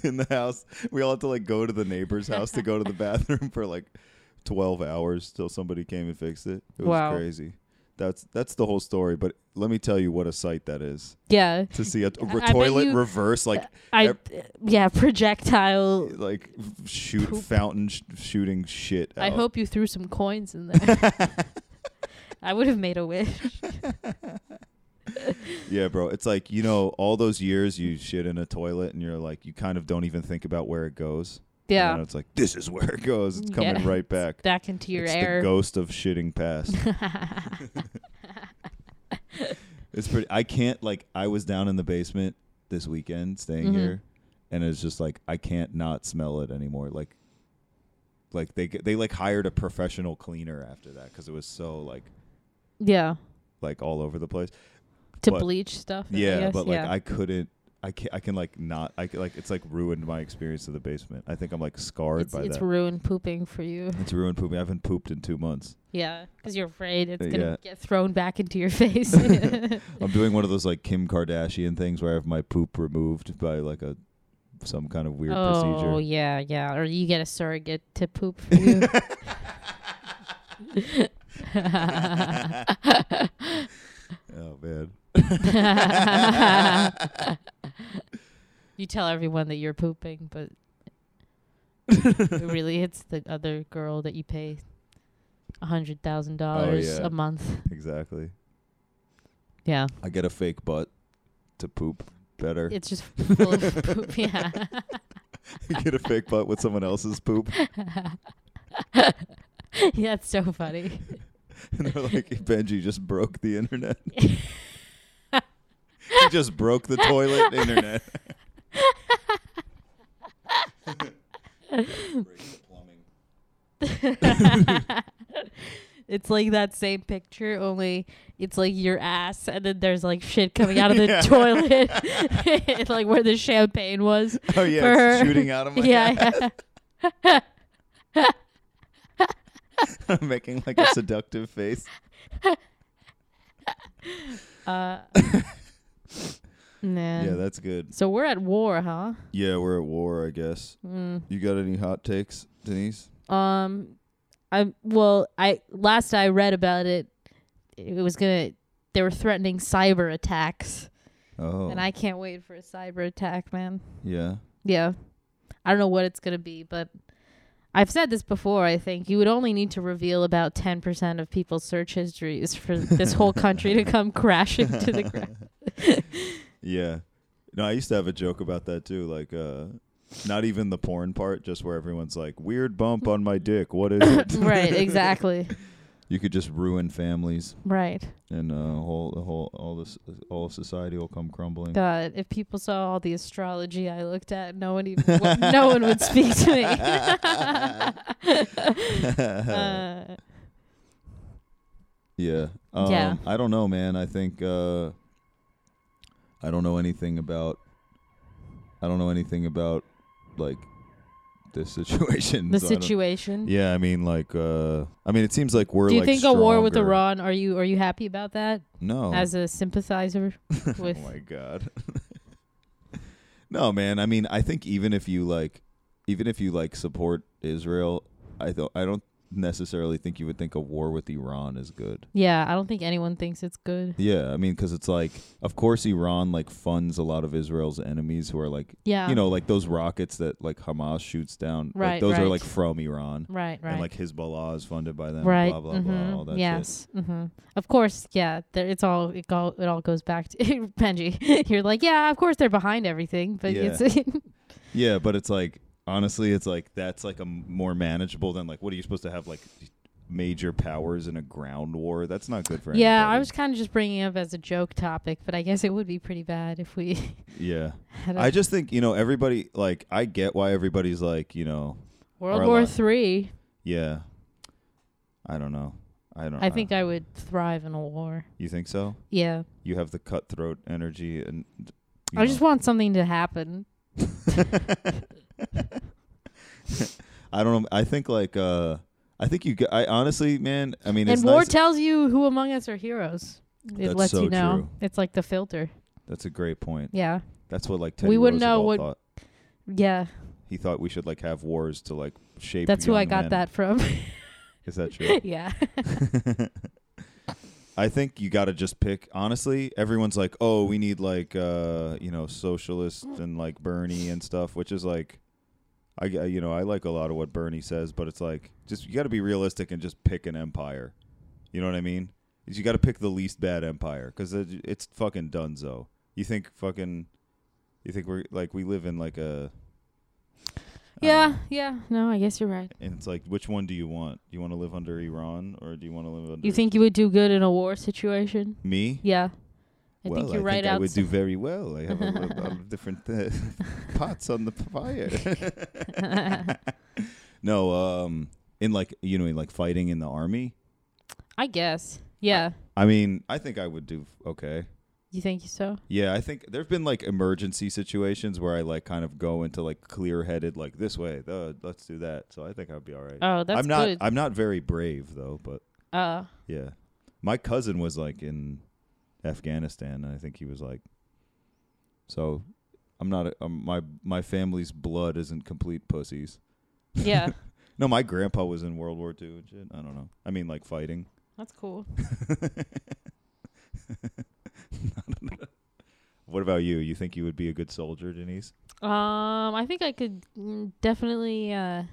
in the house. We all had to like go to the neighbor's house to go to
*laughs*
the bathroom for like 12 hours till somebody came and fixed it. It was
Wow.
crazy. That's that's the whole story, but let me tell you what a sight that is
yeah.
to
*laughs*
see a, a
I bet
toilet
you-
reverse
*laughs*
like
I.
ev-
yeah. Projectile.
like f- shoot
Uh, Poop.
fountain sh- shooting shit. Out.
I hope you threw some coins in there.
*laughs*
I would have made a wish.
Yeah, bro. It's like you know all those years you shit in a toilet and you're like you kind of don't even think about where it goes.
Yeah.
And it's like this is where it goes.
*laughs*
It's coming
Yeah.
right back.
Back into your
it's
air.
the ghost of shitting past. it's pretty. I can't like. I was down in the basement this weekend, staying
Mhm.
here, and it's just like I can't not smell it anymore. Like, like they g- they like hired a professional cleaner after that because it was so like
*laughs* yeah.
like all over the place.
To
but-
bleach stuff. I
Yeah,
guess.
but like
yeah.
I couldn't. I can I can like not. I c- like it's like ruined my experience of the basement. I think I'm like scarred
it's,
by
it's
that.
ruined pooping for you.
it's ruined pooping. I haven't pooped in two months.
Yeah, because you're afraid it's
Uh,
gonna
yeah.
get thrown back into
*laughs*
your face.
I'm doing one of those like Kim Kardashian things where I have my poop removed by like a some kind of weird
Oh
procedure.
yeah, yeah. Or you get a surrogate to poop
*laughs*
for you.
*laughs* Oh man.
you tell everyone that you're pooping, but it really it's the other girl that you pay a hundred thousand dollars
Oh, yeah.
a month.
Exactly.
Yeah,
I get a fake butt to poop better.
it's just full of poop. *laughs* Yeah,
*laughs* get a fake butt with someone else's poop. *laughs*
*laughs* yeah, it's so funny. *laughs*
And they're like, Benji just broke the internet. he just broke the
*laughs*
toilet internet.
It's like that same picture, only it's like your ass, and then there's like shit coming out of the
*laughs* Yeah.
toilet, *laughs* like where the champagne was.
Oh yeah, it's
For-
shooting out of Oh my
*laughs* yeah,
*laughs* ass.
yeah.
I'm making like a seductive face. *laughs*
Uh, man.
Yeah, that's good.
so we're at war, huh?
Yeah, we're at war, I guess.
Mm.
You got any hot takes, Denise?
Um, I'm well. I last I read about it, it was gonna. They were threatening cyber attacks,
Oh,
and I can't wait for a cyber attack, man.
yeah.
Yeah, I don't know what it's gonna be, but I've said this before. I think you would only need to reveal about ten percent of people's search histories for this whole country
*laughs*
to come crashing to the ground.
Yeah. No, I used to have a joke about that too. Like, uh, not even the porn part, just where everyone's like, weird bump on my dick. What is it?
*laughs* right, exactly.
*laughs* You could just ruin families
Right.
and uh, whole, the whole, all this, all of society will come crumbling.
God, if people saw all the astrology I looked at, no one even *laughs* wo- no one would speak to *laughs* me.
*laughs*
Uh,
yeah. Um,
Yeah.
I don't know, man. I think, uh, I don't know anything about, I don't know anything about like this *laughs* situation.
the
so I don't-
situation.
Yeah, I mean, like, uh, I mean, it seems like we're.
Do you
like,
think a war with
stronger. Oh.
Iran? Are you are you happy about that
No.
as
*laughs*
a sympathizer with?
oh my god. *laughs* no, man. I mean, I think even if you like, even if you like support Israel, I th- I don't necessarily think you would think a war with Iran is good.
yeah, I don't think anyone thinks it's good.
Yeah, I mean, because it's like, of course, Iran like funds a lot of Israel's enemies who are like,
Yeah,
you know, like those rockets that like Hamas shoots down. like,
Right,
those are
right.
like from Iran.
right, right,
And like Hezbollah is funded by them.
right.
Blah blah
mhm,
blah. All that shit.
yes, hmm of course. Yeah, there, it's all it all it all goes back to *laughs* Benji. *laughs* You're like, yeah, of course they're behind everything, but
Yeah.
it's *laughs*
Yeah, but it's like honestly, it's like that's like a m- more manageable than like what are you supposed to have like major powers in a ground war? That's not good for
Yeah, I
anybody.
was kind of just bringing it up as a joke topic, but I guess it would be pretty bad if we *laughs*
yeah.
had a
I just think you know everybody like I get why everybody's like you know
World
our
War
lot.
Three.
yeah. I don't know. I don't. uh,
I think I would thrive in a war.
you think so.
Yeah,
You have the cutthroat energy and. you
I just
know.
want something to happen.
*laughs* I don't know. I think like uh, I think you. g- I honestly, man. I mean, it's
and war
nice-
tells you who among us are heroes. It
That's
lets
so
you know.
true.
It's like the filter.
That's a great point.
Yeah,
That's what like Teddy
We wouldn't
Roosevelt
know what-
thought.
yeah.
He thought we should like have wars to like shape.
That's who I
young
got
men.
that from. *laughs*
Is that true?
yeah,
*laughs* I think you got to just pick. Honestly, everyone's like, "Oh, we need like uh, you know, socialist and like Bernie and stuff," which is like, I g- you know, I like a lot of what Bernie says, but it's like just you got to be realistic and just pick an empire. You know what I mean? Is You got to pick the least bad empire because it's fucking Dunzo. You think fucking, you think we're like we live in like a I don't
yeah,
know.
yeah. No, I guess you're right.
And it's like, which one do you want? Do you want to live under Iran or do you want to live under
You think you would do good in a war situation?
me?
Yeah, I
well,
think you're
I
right
think I
out.
would do very well. I have a, lot- a lot of different uh, pots on the
*laughs*
fire. *laughs* no, um, in like you know, in like fighting in the army.
*laughs* I guess. Yeah,
I mean, I think I would do f- okay.
you think so?
Yeah, I think there've been like emergency situations where I like kind of go into like clear-headed, like this way, uh, let's do that. So I think I'd be all right.
Oh, that's
I'm not. uh,
good.
I'm not very brave though, but.
uh,
Yeah. My cousin was like in Afghanistan and I think he was like so I'm not. A, um, my my family's blood isn't complete pussies.
Yeah,
*laughs* No, my grandpa was in World War Two and shit. I don't know. I mean, like fighting. *laughs*
that's cool.
What about you? You think you would be a good soldier, Denise?
Um, I think I could mm, definitely. Uh,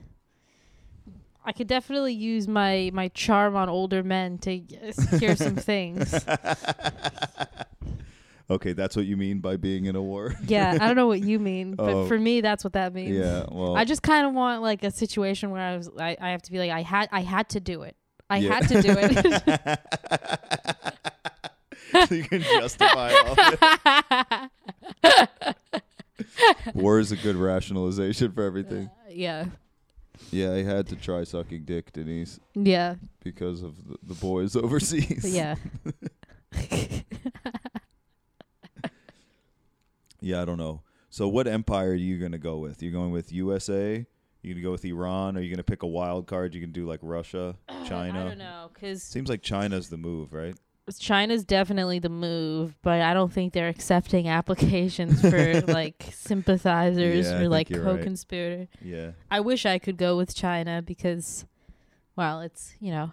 I could definitely use my my charm on older men to uh, secure
*laughs*
some things.
Okay, that's what you mean by being in a
*laughs*
war.
Yeah, I don't know what you mean, but
Oh.
for me, that's what that means.
yeah. Well,
I just kind of want like a situation where I was I, I have to be like I had I had to do it. I
Yeah.
had to do
*laughs*
it. *laughs*
so you can justify all this. War is a good rationalization for everything.
yeah.
Yeah, I had to try sucking dick, Denise,
Yeah.
because of the, the boys *laughs* overseas.
But
*laughs*
yeah.
Yeah, I don't know. So, what empire are you going to go with? You're going with USA? You're going to go with Iran? Or are you going to pick a wild card? You can do like Russia, China?
*sighs* I don't know cuz
Seems like China's the move, right?
China's definitely the move, but I don't think they're accepting *laughs*
*laughs*
applications for like sympathizers
Yeah, I
or
think
like
you're right.
co-conspirator.
Yeah.
I wish I could go with China because, well, it's you know,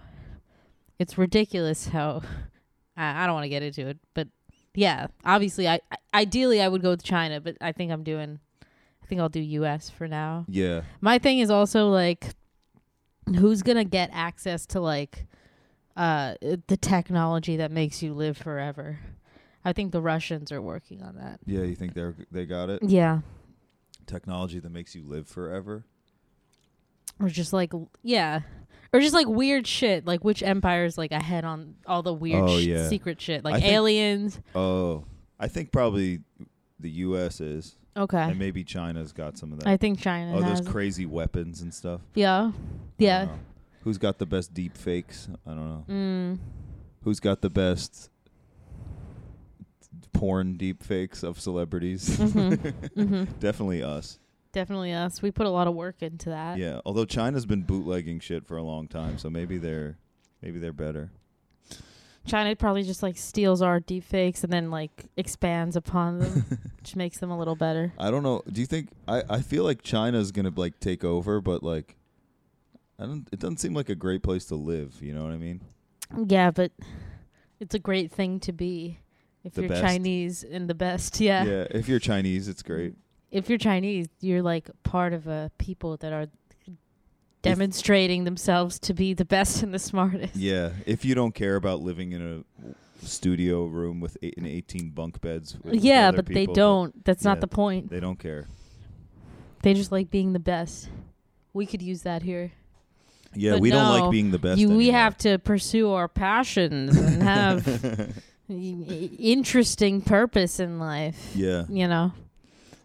it's ridiculous how *laughs* I, I don't want to get into it, but yeah, obviously, I, I ideally I would go with China, but I think I'm doing, I think I'll do U.S. for now.
Yeah.
My thing is also like, who's gonna get access to like, uh, the technology that makes you live forever? I think the Russians are working on that.
Yeah, you think they're they got it?
Yeah,
Technology that makes you live forever?
or just like l- yeah or just like weird shit like which empire is like ahead on all the weird
Oh,
sh-
yeah.
secret shit
I
like
think-
aliens
Oh, I think probably the U.S. is,
okay
and maybe China's got some of that.
i think china
oh, those
has
crazy weapons and stuff.
yeah
I
yeah
don't know. Who's got the best deep fakes? I don't know.
mm.
Who's got the best porn deep fakes of celebrities?
*laughs*
*laughs*
mm-hmm. mm-hmm.
Definitely us.
definitely us we put a lot of work into that
Yeah. Although China's been bootlegging shit for a long time, so maybe they're maybe they're better.
china probably just like steals our deep fakes and then like expands upon them
*laughs*
which makes them a little better
I don't know. Do you think I, I feel like China's gonna like take over, but like I don't it doesn't seem like a great place to live, you know what I mean?
yeah but it's a great thing to be if
The
you're
best.
chinese and the best yeah
if you're Chinese it's great.
if you're Chinese, you're like part of a people that are demonstrating themselves to be the best and the smartest.
Yeah. If you don't care about living in a studio room with eight and eighteen bunk beds *laughs* with- with
Yeah,
other
but they
people,
don't. That's
yeah.
not the point.
they don't care.
They just like being the best. We could use that here.
Yeah,
But
we don't like
no,
being the best.
You, we
anymore. *laughs*
have to pursue our passions and have i- i- interesting purpose in life.
Yeah.
You know,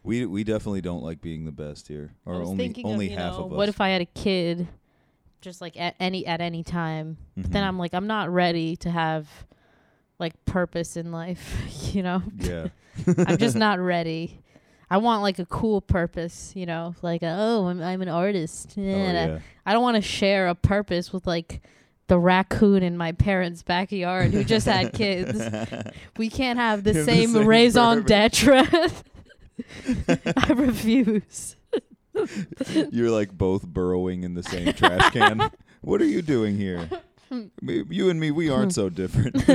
We we definitely don't like being the best here. Or
I was
only
thinking
only
of, you
half
know,
of us.
what if I had a kid, just like at any at any time, But then
Mhm.
I'm like, I'm not ready to have like purpose in life, *laughs* you know?
*laughs* Yeah.
I'm
*laughs*
just not ready. I want like a cool purpose, you know, like a, oh, I'm I'm an artist. *laughs*
Oh, yeah.
I don't want to share a purpose with like the raccoon in my parents' backyard who
*laughs*
just had kids. We can't have the
Have the
same,
same
raison
purpose. *laughs*
d'être. *laughs* I refuse.
You're like both burrowing in the
*laughs*
same trash can. What are you doing here? Me- You and me, we aren't so different. *laughs*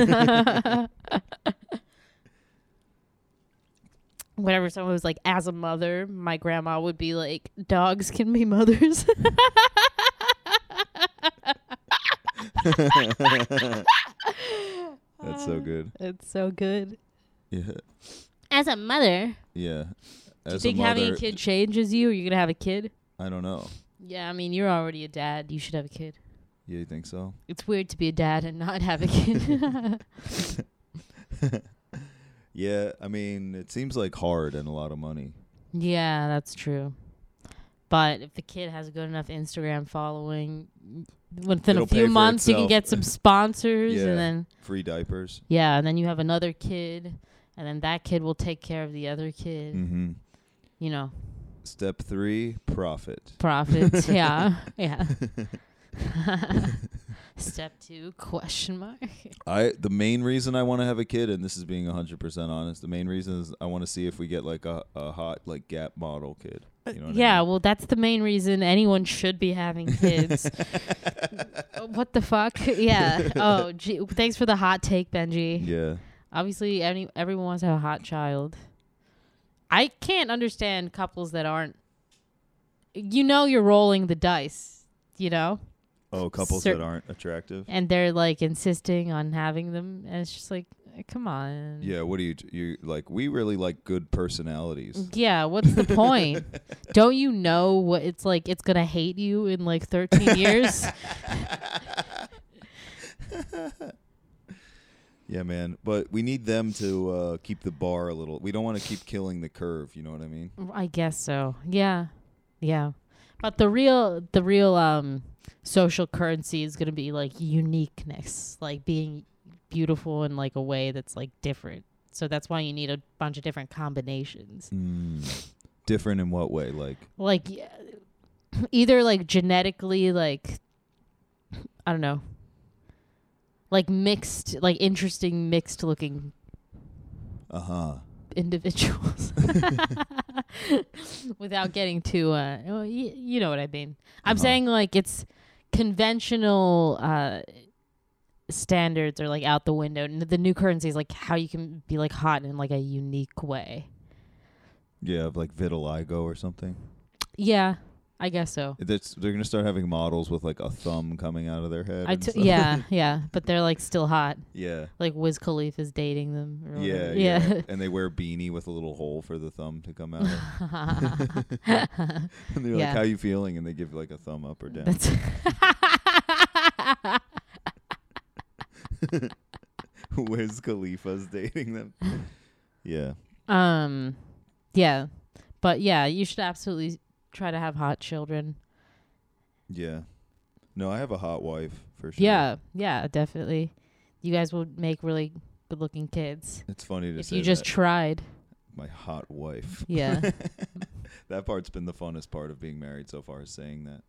Whenever someone was like, as a mother, my grandma would be like, dogs can be mothers. *laughs*
That's
*laughs*
so good.
it's so good.
Yeah,
As a mother,
yeah.
do you
As
think
a mother,
having a kid changes you? Are you going to have a kid?
I don't know.
Yeah, I mean, you're already a dad. You should have a kid.
Yeah, you think so?
It's weird to be a dad and not have
*laughs*
a kid.
Yeah, I mean, it seems like hard and a lot of money.
yeah, that's true. But if the kid has a good enough Instagram following, within
It'll
a
pay
few
for
months, you can
itself.
get some sponsors
Yeah.
and then.
Free diapers.
Yeah, and then you have another kid, and then that kid will take care of the other kid.
Mm-hmm.
You know,
Step *laughs* three, profit.
profits. yeah, yeah. *laughs* Step two, question mark.
I the main reason I want to have a kid, and this is being hundred percent honest, the main reason is I want to see if we get like a, a hot like Gap model kid. You know what I
Uh, yeah,
mean?
well, that's the main reason anyone should be having
*laughs*
kids. Uh, what the fuck? *laughs* Yeah. Oh, gee, thanks for the hot take, Benji.
Yeah.
Obviously, any everyone wants to have a hot child. I can't understand couples that aren't. You know, you're rolling the dice. You know,
Oh, couples
Cer-
that aren't attractive.
and they're like insisting on having them, and it's just like, eh, come on.
Yeah. What do you you like? We really like good personalities.
Yeah, what's
*laughs*
the point? Don't you know what it's like? It's gonna hate you in like 13
*laughs*
years. Mm-hmm.
Yeah, man. But we need them to uh, keep the bar a little. We don't want to keep killing the curve. You know what I mean?
I guess so. Yeah, yeah. But the real, the real um, social currency is gonna be like uniqueness, like being beautiful in like a way that's like different. So that's why you need a bunch of different combinations.
Mm. Different in what way? Like,
Like yeah, *clears throat* either like genetically, like I don't know, like mixed, like interesting mixed looking
uh huh.
individuals *laughs* without getting too uh well, y- you know what i mean i'm
Uh-huh.
saying like it's conventional uh standards are like out the window and the new currency is like how you can be like hot in like a unique way
Yeah, of like vitiligo or something.
yeah i guess so
That's, they're gonna start having models with like a thumb coming out of their head.
I
and
t-
stuff.
yeah yeah but they're like still hot
*laughs* yeah,
like wiz khalifa is dating them or
yeah,
whatever.
yeah, And they wear a beanie with a little hole for the thumb to come out. Of. Uh-huh.
*laughs*
*laughs*
yeah.
and they're
Yeah.
like, "How you feeling?" And they give like a thumb up or down.
that's *laughs*
*laughs* Wiz Khalifa's dating
*laughs*
them. yeah,
Um, yeah, but yeah, you should absolutely try to have hot children.
yeah. No, I have a hot wife for sure.
Yeah, yeah, definitely. You guys will make really good-looking kids
it's funny to
if
say
you just
that.
tried.
my hot wife. *laughs*
*laughs* Yeah,
That part's been the funnest part of being married so far. Is saying that.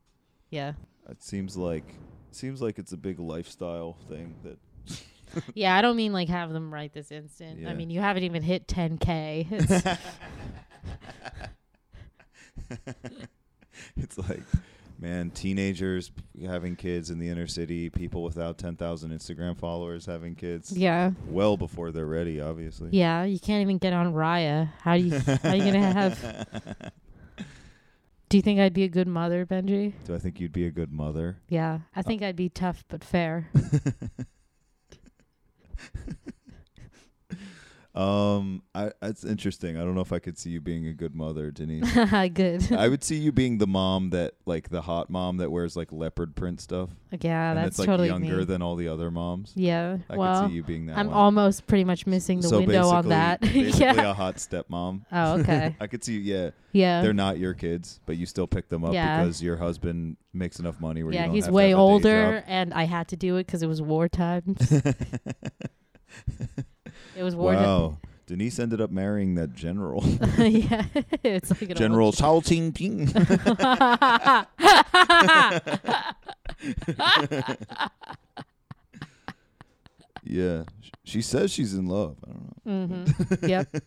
yeah,
It seems like seems like it's a big lifestyle thing that
yeah. I don't mean like have them right this instant. I
Yeah.
mean you haven't even
*laughs*
hit 10k. It's-
it's like, man, teenagers having kids in the inner city, people without 10,000 Instagram followers having kids
yeah,
well before they're ready, obviously.
yeah. You can't even get on Raya. How do you? How
*laughs*
you gonna have? Do you think I'd be a good mother, Benji?
Do I think you'd be a good mother?
Yeah, I think I'd be tough but fair. *laughs*
Um, I that's interesting. I don't know if I could see you being a good mother, Denise. *laughs*
good.
I would see you being the mom that like the hot mom that wears like leopard print stuff.
Yeah,
and
that's
that's like
totally
younger
me.
than all the other moms.
Yeah.
I
well,
could see you being that
I'm
one.
almost pretty much missing the
so
window
basically-
on that. *laughs*
basically
yeah.
a hot stepmom.
Oh, okay.
*laughs* I could see you, yeah.
Yeah.
They're not your kids, but you still pick them up
Yeah.
because your husband makes enough money where you
yeah,
don't
he's
have to
way
have a day
older, and I had to do it because it was war times.
*laughs*
it was
job.
war
Wow. Denise ended up marrying that general.
time. *laughs* yeah, *laughs* it's like an
*laughs*
old-
general
*laughs*
Cao Ting *laughs* Ping. yeah. Sh- She says she's in love. I don't know. *laughs*
Mhm. Yep.
*laughs*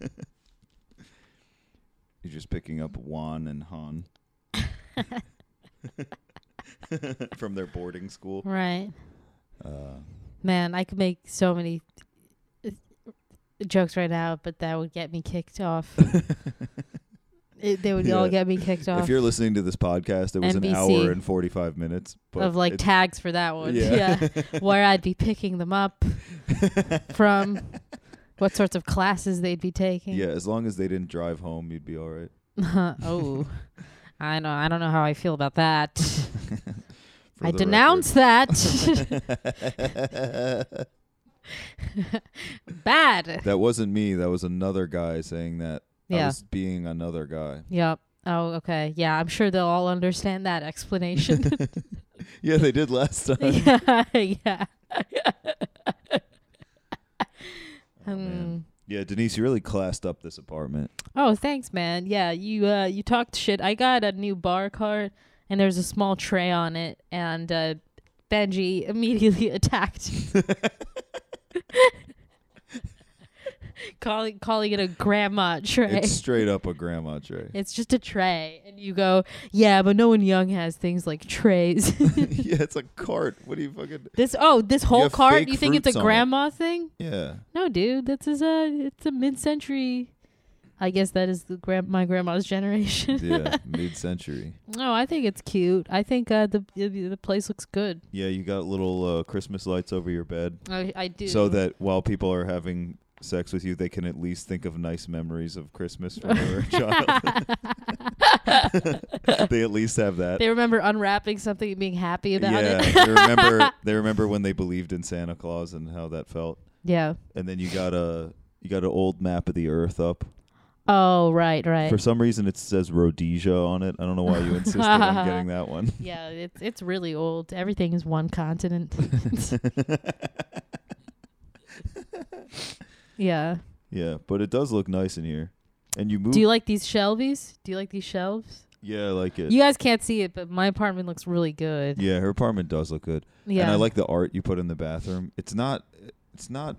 You're just picking up Juan and Han *laughs* from their boarding school.
Right.
Uh,
Man, I could make so many uh, jokes right now, but that would get me kicked off. it, they would all
Yeah.
get me kicked off
if you're listening to this podcast, it was an
NBC.
hour and 45 minutes. But
of like
it's-
tags for that one.
Yeah. *laughs*
yeah. Where I'd be picking them up from, what sorts of classes they'd be taking.
yeah, as long as they didn't drive home, you'd be all right.
*laughs* oh, I know. I don't know how I feel about that.
*laughs* For
I
the *laughs*
denounce that. *laughs*
record. *laughs*
Bad.
that wasn't me. That was another guy saying that. I
Yeah.
was being another guy.
Yep. Oh, okay. Yeah, I'm sure they'll all understand that
*laughs*
explanation. *laughs*
Yeah, they did last time.
yeah. Yeah.
Oh,
Mm.
man. Yeah, Denise, you really classed up this apartment.
Oh, thanks, man. Yeah, you uh, you talked shit. I got a new bar cart, and there's a small tray on it, and uh, Benji *laughs* immediately attacked,
*laughs*
calling calling it a grandma tray.
It's straight up a grandma tray.
*laughs* It's just a tray, and you go, yeah, but no one young has things like trays.
*laughs*
*laughs*
yeah, it's a cart. What do you fucking?
this oh, this whole
have
cart.
fake
You think it's
fruits
a
on it.
grandma thing?
Yeah,
No, dude, this is a it's a mid-century. I guess that is the grand my grandma's generation. *laughs*
yeah, mid-century.
No, I think it's cute. I think uh, the the the place looks good.
Yeah, you got little uh, Christmas lights over your bed,
I, I do.
so that while people are having sex with you, they can at least think of nice memories of Christmas
*laughs*
from their childhood. *laughs* they at least have that.
they remember unwrapping something and being happy about
yeah,
it.
they
*laughs*
remember they remember when they believed in Santa Claus and how that felt.
*laughs* yeah.
And then you got a you got an old map of the Earth up.
Oh, right, right.
For some reason, it says Rhodesia on it. I don't know why you insisted
*laughs*
on getting that one.
yeah, it's it's really old. Everything is
*laughs*
one continent. *laughs* yeah.
Yeah, but it does look nice in here. And you move.
Do you like these shelvies? Do you like these shelves?
yeah, I like it.
You guys can't see it, but my apartment looks really good.
yeah, her apartment does look good.
Yeah.
And I like the art you put in the bathroom. It's not. It's not.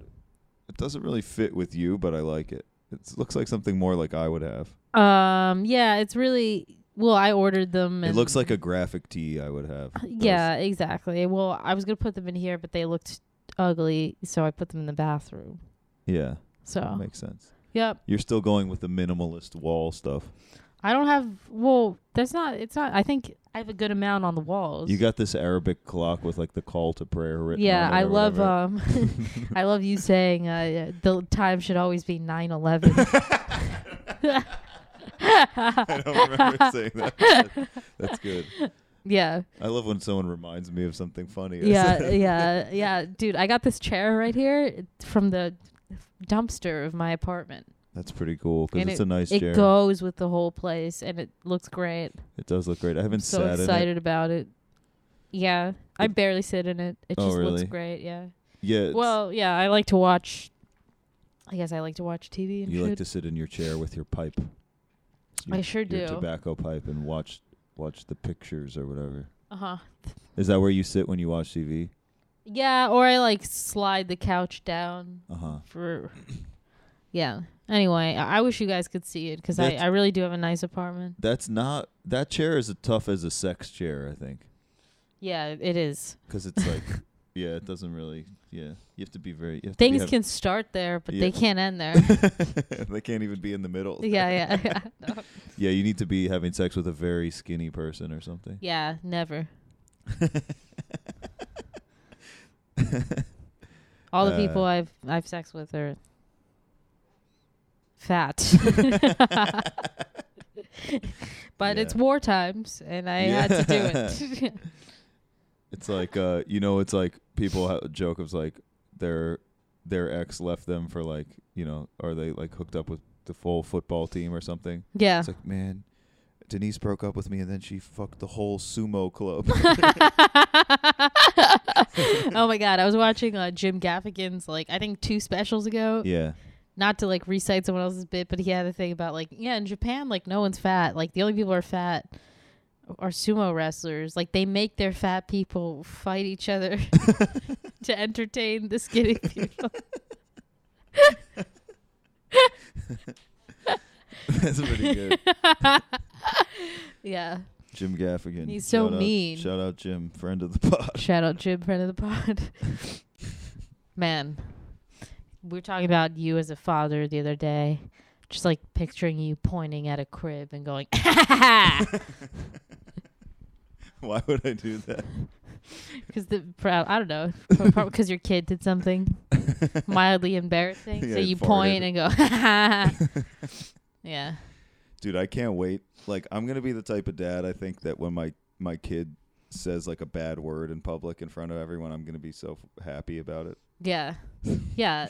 It doesn't really fit with you, but I like it. It looks like something more like I would have.
Um. Yeah. It's really well. I ordered them.
It
And
looks like a graphic tee I would have.
Uh, Yeah. Exactly. Well, I was gonna put them in here, but they looked ugly, so I put them in the bathroom.
Yeah. That
So.
makes sense.
Yep.
You're still going with the minimalist wall stuff.
I don't have. Well, that's not. It's not. I think I have a good amount on the walls.
You got this Arabic clock with like the call to prayer written.
Yeah,
on it
I
or
love.
whatever.
Um,
*laughs*
*laughs* I love you saying uh, the time should always be
*laughs*
nine eleven. *laughs* uh,
I don't
*laughs*
remember saying that. but That's good.
yeah,
I love when someone reminds me of something funny. I *laughs*
yeah,
said.
yeah, yeah, dude. I got this chair right here from the dumpster of my apartment.
That's pretty cool because
And
it's a nice
it
chair.
goes with the whole place, and it looks great.
it does look great. I haven't
so
sat in it.
excited about it. Yeah, I
It-
barely sit in it. It
Oh,
just looks
really?
great. Yeah.
Yeah. it's-
Well, yeah, I like to watch. I guess I like to watch TV and
you
shit.
like to sit in your chair with your pipe.
I sure
your
do.
Tobacco pipe and watch watch the pictures or whatever.
uh huh.
Is that where you sit when you watch TV?
Yeah, or I like slide the couch down
Uh huh.
for. Yeah. Anyway, I, I wish you guys could see it because I,
That's-
I really do have a nice apartment.
That's not that chair is as tough as a sex chair. I think.
Yeah, it is.
because it's like
*laughs*
yeah it doesn't really yeah you have to be very you have to be
Things
have-
can start there, but
Yeah.
they can't end
*laughs*
there.
they can't even be in the middle
yeah, yeah,
*laughs*
*laughs* yeah. No.
yeah you need to be having sex with a very skinny person or
*laughs*
something
Yeah,
*laughs*
never. All the
Uh,
people I've I've sex with are
*laughs*
fat. but it's
Yeah.
war times and I had
*laughs*
to do it. *laughs*
it's like uh you know it's like people ha- joke of like their their ex left them for like you know are they like hooked up with the full football team or something
yeah.
it's like man Denise broke up with me and then she fucked the whole sumo
*laughs*
club. *laughs*
oh my god, I was watching uh, Jim Gaffigan's like I think two specials ago.
yeah. *laughs*
Not to like recite someone else's bit, but he had a thing about like yeah, in Japan like no one's fat. Like the only people who are fat are sumo wrestlers. Like they make their fat people fight each other *laughs* to entertain the skinny people. *laughs*
That's pretty good.
yeah.
Jim Gaffigan.
He's so
Shout out-
mean.
Shout out Jim, friend of the *laughs* pod.
Shout out Jim, friend of the pod. *laughs* Man, we were talking about you as a father the other day. Just like picturing you pointing at a crib and going, *laughs*
Why would I do that?
because the pro- I don't know, because your kid did something mildly embarrassing,
Yeah,
so
he
you point and
farted.
go, *laughs* yeah,
Dude, I can't wait. Like I'm going to be the type of dad I think that when my my kid says like a bad word in public in front of everyone, I'm going to be so f- happy about it.
yeah, yeah.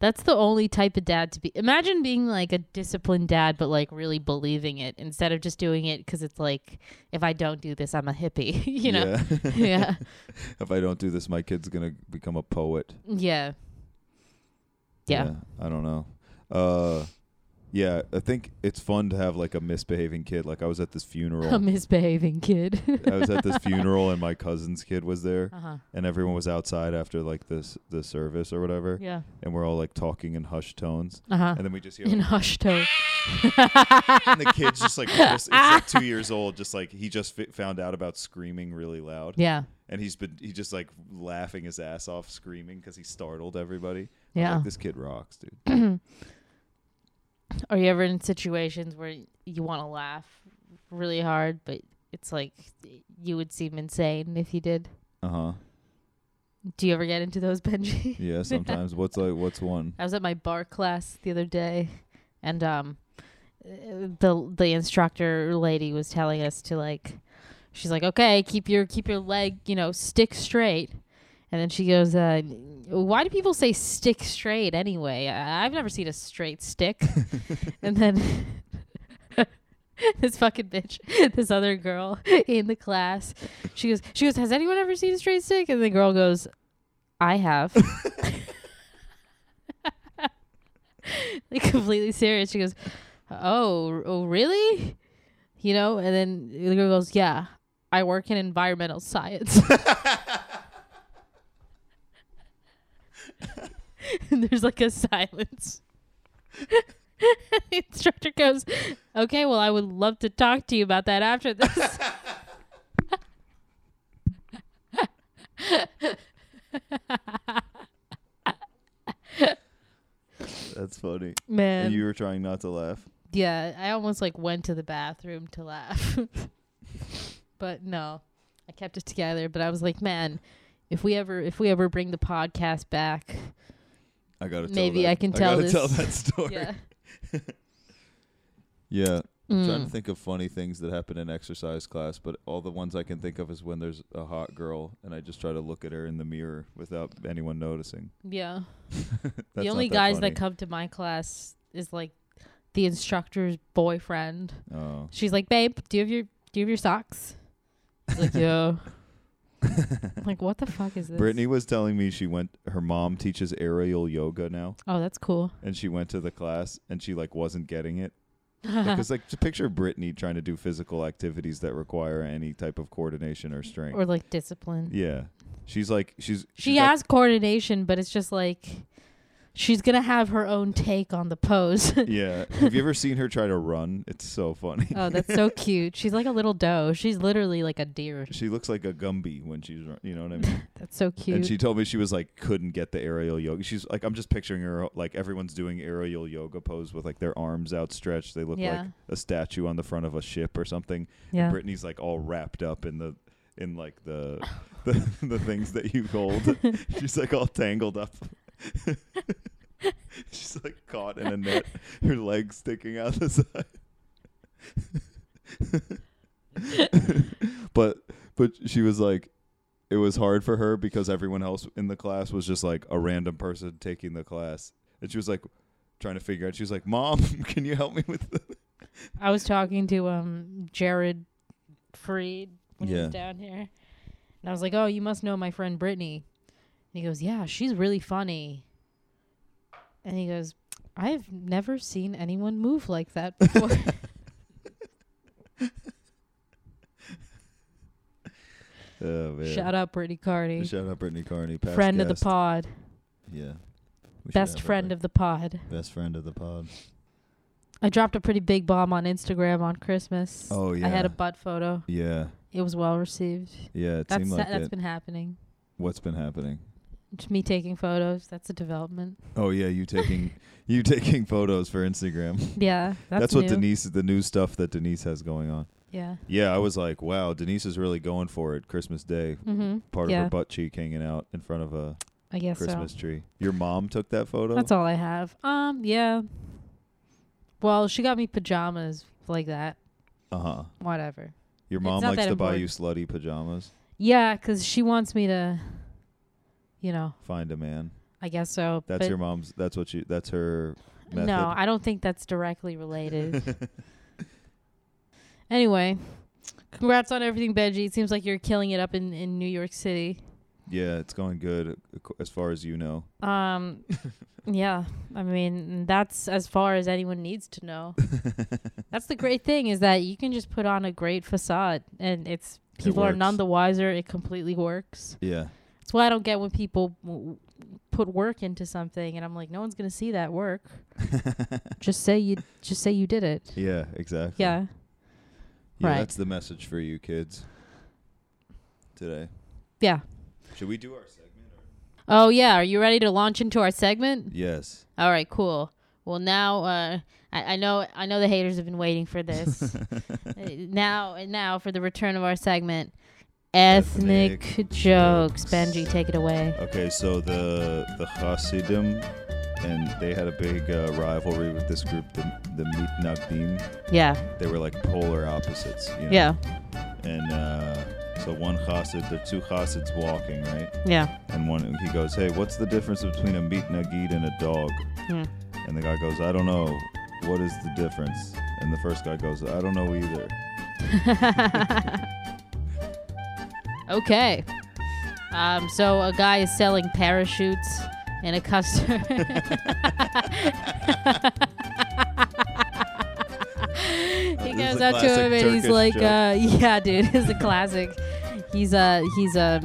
That's the only type of dad to be. Imagine being like a disciplined dad, but like really believing it instead of just doing it because it's like, if I don't do this, I'm a hippie, *laughs* you know?
Yeah. *laughs*
yeah
if I don't do this, my kid's going to become a poet.
yeah yeah
I don't know. Uh yeah, I think it's fun to have like a misbehaving kid. Like I was at this
*laughs* A
funeral.
misbehaving kid.
I was
*laughs*
at this funeral and my cousin's kid was there
uh huh.
and everyone was outside after like this the service or whatever
Yeah.
and we're all like talking in hushed tones
Uh huh.
and then we just hear
In hushed tone.
and the kid's just like it's like 2 years old just like he just fi- found out about screaming really loud
*laughs* Yeah.
and he's been he just like laughing his ass off screaming cuz he startled everybody. I was
Yeah.
Like, this kid rocks, dude.
*clears throat* Are you ever in situations where you want to laugh really hard, but it's like you would seem insane if you did?
Uh-huh.
Do you ever get into those,
*laughs*
Benji?
Yeah, sometimes what's like what's
*laughs*
one?
I was at my bar class the other day, and um, uh, the the instructor lady was telling us to like, she's like, okay, keep your keep your leg, you know, stick straight, and then she goes, uh, why do people say stick straight anyway? I- I've never seen a straight stick, and then. *laughs* This fucking bitch, this other girl in the class, she goes, she goes, has anyone ever seen a straight stick? And the girl goes, I have. *laughs* like completely serious. She goes, "Oh, r- oh, really?" You know, and then the girl goes, "Yeah, I work in environmental science." *laughs* and there's like a silence. *laughs* the instructor goes, "Okay, well, I would love to talk to you about that after this." *laughs*
That's funny.
Man,
and you were trying not to laugh.
yeah, I almost like went to the bathroom to laugh. *laughs* but no. I kept it together, but I was like, man, if we ever if we ever bring the podcast
*laughs*
back,
I got to tell
Maybe
that-
I can tell
gotta
this-
tell
*laughs*
that story.
yeah.
yeah. I'm trying to
Mm.
think of funny things that happen in exercise class, but all the ones I can think of is when there's a hot girl and I just try to look at her in the mirror without anyone noticing.
Yeah.
That's
the
not
only guys
funny.
that come to my class is like the instructor's boyfriend.
Oh.
She's like, babe, do you have your do you have your socks?
*laughs*
He's like, yo. I'm like, what the fuck is this?
Brittany was telling me she went. Her mom teaches aerial yoga now,
Oh, that's cool.
and she went to the class and she like wasn't getting
*laughs*
it because like to picture Brittany trying to do physical activities that require any type of coordination or strength.
or like discipline.
*laughs* yeah, she's like she's
She
she's like-
has coordination, but it's just like she's gonna have her own take on the pose. *laughs*
yeah. Have you ever seen her try to run? It's so funny.
oh, that's so cute. She's like a little doe. She's literally like a deer.
*laughs* She looks like a Gumby when she's run- you know what I mean.
That's so
And
cute.
she told me she was like couldn't get the aerial yoga. She's like I'm just picturing her like everyone's doing aerial yoga pose with like their arms outstretched. They look
Yeah.
like a statue on the front of a ship or something.
yeah.
Brittany's like all wrapped up in the in like the the, the things that you hold. She's like all tangled up. *laughs* She's like caught in a net, her legs sticking out the side. *laughs* but but she was like it was hard for her because everyone else in the class was just like a random person taking the class. And she was like trying to figure out. She was like, "Mom, *laughs* can you help me with this?"
I was talking to um Jared Freed when he
Yeah.
was down here. And I was like, Oh, you must know my friend Brittany. And he goes, Yeah, she's really funny. And he goes, I've never seen anyone move like
*laughs*
that before. *laughs*
Oh man.
Shout out Brittany Carney.
Shout out Brittany Carney, past
friend of
guest.
the pod.
Yeah.
Best friend of the pod.
best friend of the pod.
I dropped a pretty big bomb on Instagram on Christmas.
Oh,
I had
yeah.
a butt photo.
Yeah,
It was well received.
yeah. It
That's
seemed like
that, has
it.
been happening.
What's been happening?
It's me taking photos. That's a development. *laughs*
Oh yeah, you taking you taking photos for Instagram.
Yeah, that's,
That's, what
new.
Denise the new stuff that Denise has going on.
Yeah.
Yeah, I was like, wow, Denise is really going for it. Christmas Day,
Mm-hmm.
part
yeah,
of her butt cheek hanging out in front of a
I guess
Christmas
so.
tree. Your mom took that photo.
That's all I have. Um, yeah. Well, she got me pajamas like that.
Uh huh.
Whatever.
Your
It's
mom
not
likes
that
to buy you slutty pajamas.
Yeah, 'cause she wants me to, you know,
Find a man.
I guess so.
That's
but
your mom's. That's what she. That's her. Method.
No, I don't think that's directly
*laughs*
related. anyway, congrats on everything, Benji. It seems like you're killing it up in, in New York City.
Yeah, it's going good ac- as far as you know. *laughs*
Um, yeah, I mean that's as far as anyone needs
*laughs*
to know. that's the great thing is that you can just put on a great facade, and it's
It
people are none
works.
the wiser. It completely works.
Yeah.
That's why I don't get when people w- put work into something, and I'm like, no one's gonna see
*laughs*
that work. just say you, just say you did it.
Yeah, exactly.
Yeah.
Yeah,
right.
That's the message for you kids today.
Yeah.
Should we do our segment? Or?
Oh yeah. Are you ready to launch into our segment?
Yes.
All right, cool. Well, now uh, I, I know I know the haters have been waiting for this. Uh, now and now for the return of our segment, ethnic,
Ethnic
jokes.
jokes.
Benji, take it away.
Okay, so the the Hasidim, and they had a big uh, rivalry with this group, the the Mitnagdim.
Yeah,
They were like polar opposites. You know?
yeah,
And uh, so one Hasid, there are two Hasids walking, right?
yeah.
And one he goes, "Hey, what's the difference between a Mitnagid and a dog?"
Hmm.
And the guy goes, "I don't know. What is the difference?" And the first guy goes, "I don't know either."
*laughs* okay. Um, so a guy is selling parachutes and
*laughs*
a customer. he
is
goes
a
up to him
classic
and he's
Turkish
like,
joke.
uh, *laughs* "Yeah, dude, it's a classic." he's uh, he's um,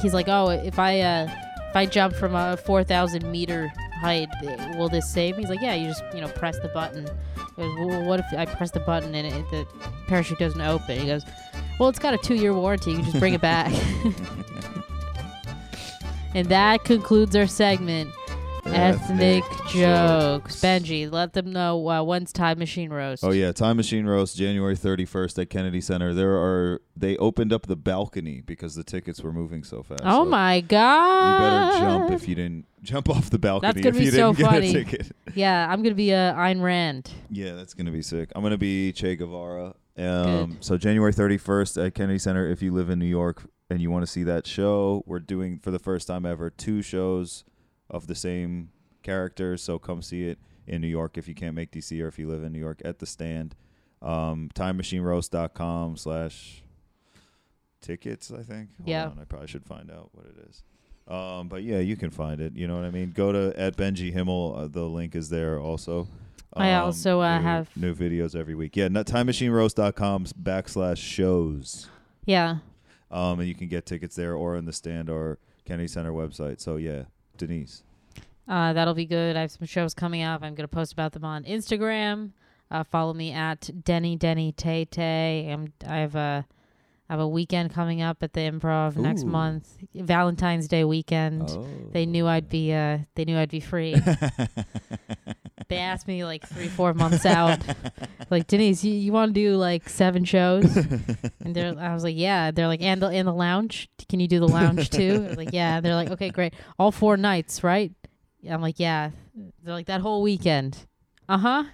he's like, "Oh, if I uh, if I jump from a four thousand meter height, th- will this save me?" He's like, "Yeah, you just you know press the button." He goes, well, "What if I press the button and it, the parachute doesn't open?" He goes, well, it's got a two year warranty. You can just bring it
*laughs*
back. and that concludes our segment Ethnic, jokes. Benji, let them know uh, when's Time Machine Roast.
Oh yeah, Time Machine Roast, January 31st at Kennedy Center. There are they opened up the balcony because the tickets were moving so fast.
Oh
So
my God.
You better jump if you didn't jump *laughs* off the balcony
That's gonna
if
be
you
so
didn't get
funny.
a ticket.
Yeah, I'm going to be uh, Ayn Rand.
Yeah, that's gonna be sick. I'm gonna be Che Guevara. Um, so January 31st at Kennedy Center. If you live in New York and you want to see that show, we're doing for the first time ever two shows of the same character. So come see it in New York if you can't make DC or if you live in New York at the stand. Um, TimeMachineRoast.com slash tickets. I think. Hold
Yeah.
on, I probably should find out what it is. Um, but yeah, you can find it. You know what I mean. Go to at Benji Himmel. Uh, the link is there also.
I also, uh,
Um, new-
have-
new videos every week. Yeah, not timemachineroast.com backslash shows.
Yeah.
Um, and you can get tickets there or in the stand or Kennedy Center website. So yeah, Denise.
Uh, that'll be good. I have some shows coming up. I'm going to post about them on Instagram. Uh, follow me at Denny Denny Tay Tay. I'm, I have a I have a weekend coming up at the Improv next
Ooh. Oh.
month, Valentine's Day weekend.
*laughs*
They knew I'd be uh, they knew I'd be free. they asked me like three four months out, like Denise, you, you want to do like seven shows? And they're, I was like, yeah. They're like, and the and the lounge. Can you do the lounge too? I was like, yeah. And they're like, okay, great. All four nights, right? I'm like, yeah. They're like that whole weekend. Uh huh.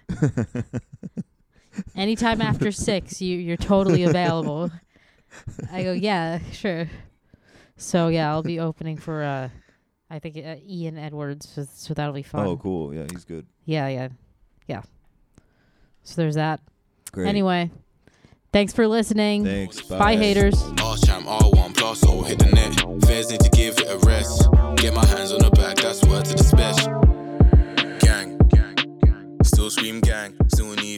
Anytime after six, you you're totally available. I go, yeah, sure. So yeah, I'll be opening for uh, I think uh, Ian Edwards. So, so that'll be fun.
Oh, cool. Yeah, he's good.
Yeah, yeah, yeah. So there's that.
Great.
Anyway, thanks for listening.
Thanks.
Bye, haters.
All champ, all one plus, so hit the net. Fans need to give it a rest. Get my hands on the back, that's word to the special. Gang, gang, gang. Still scream gang, still in the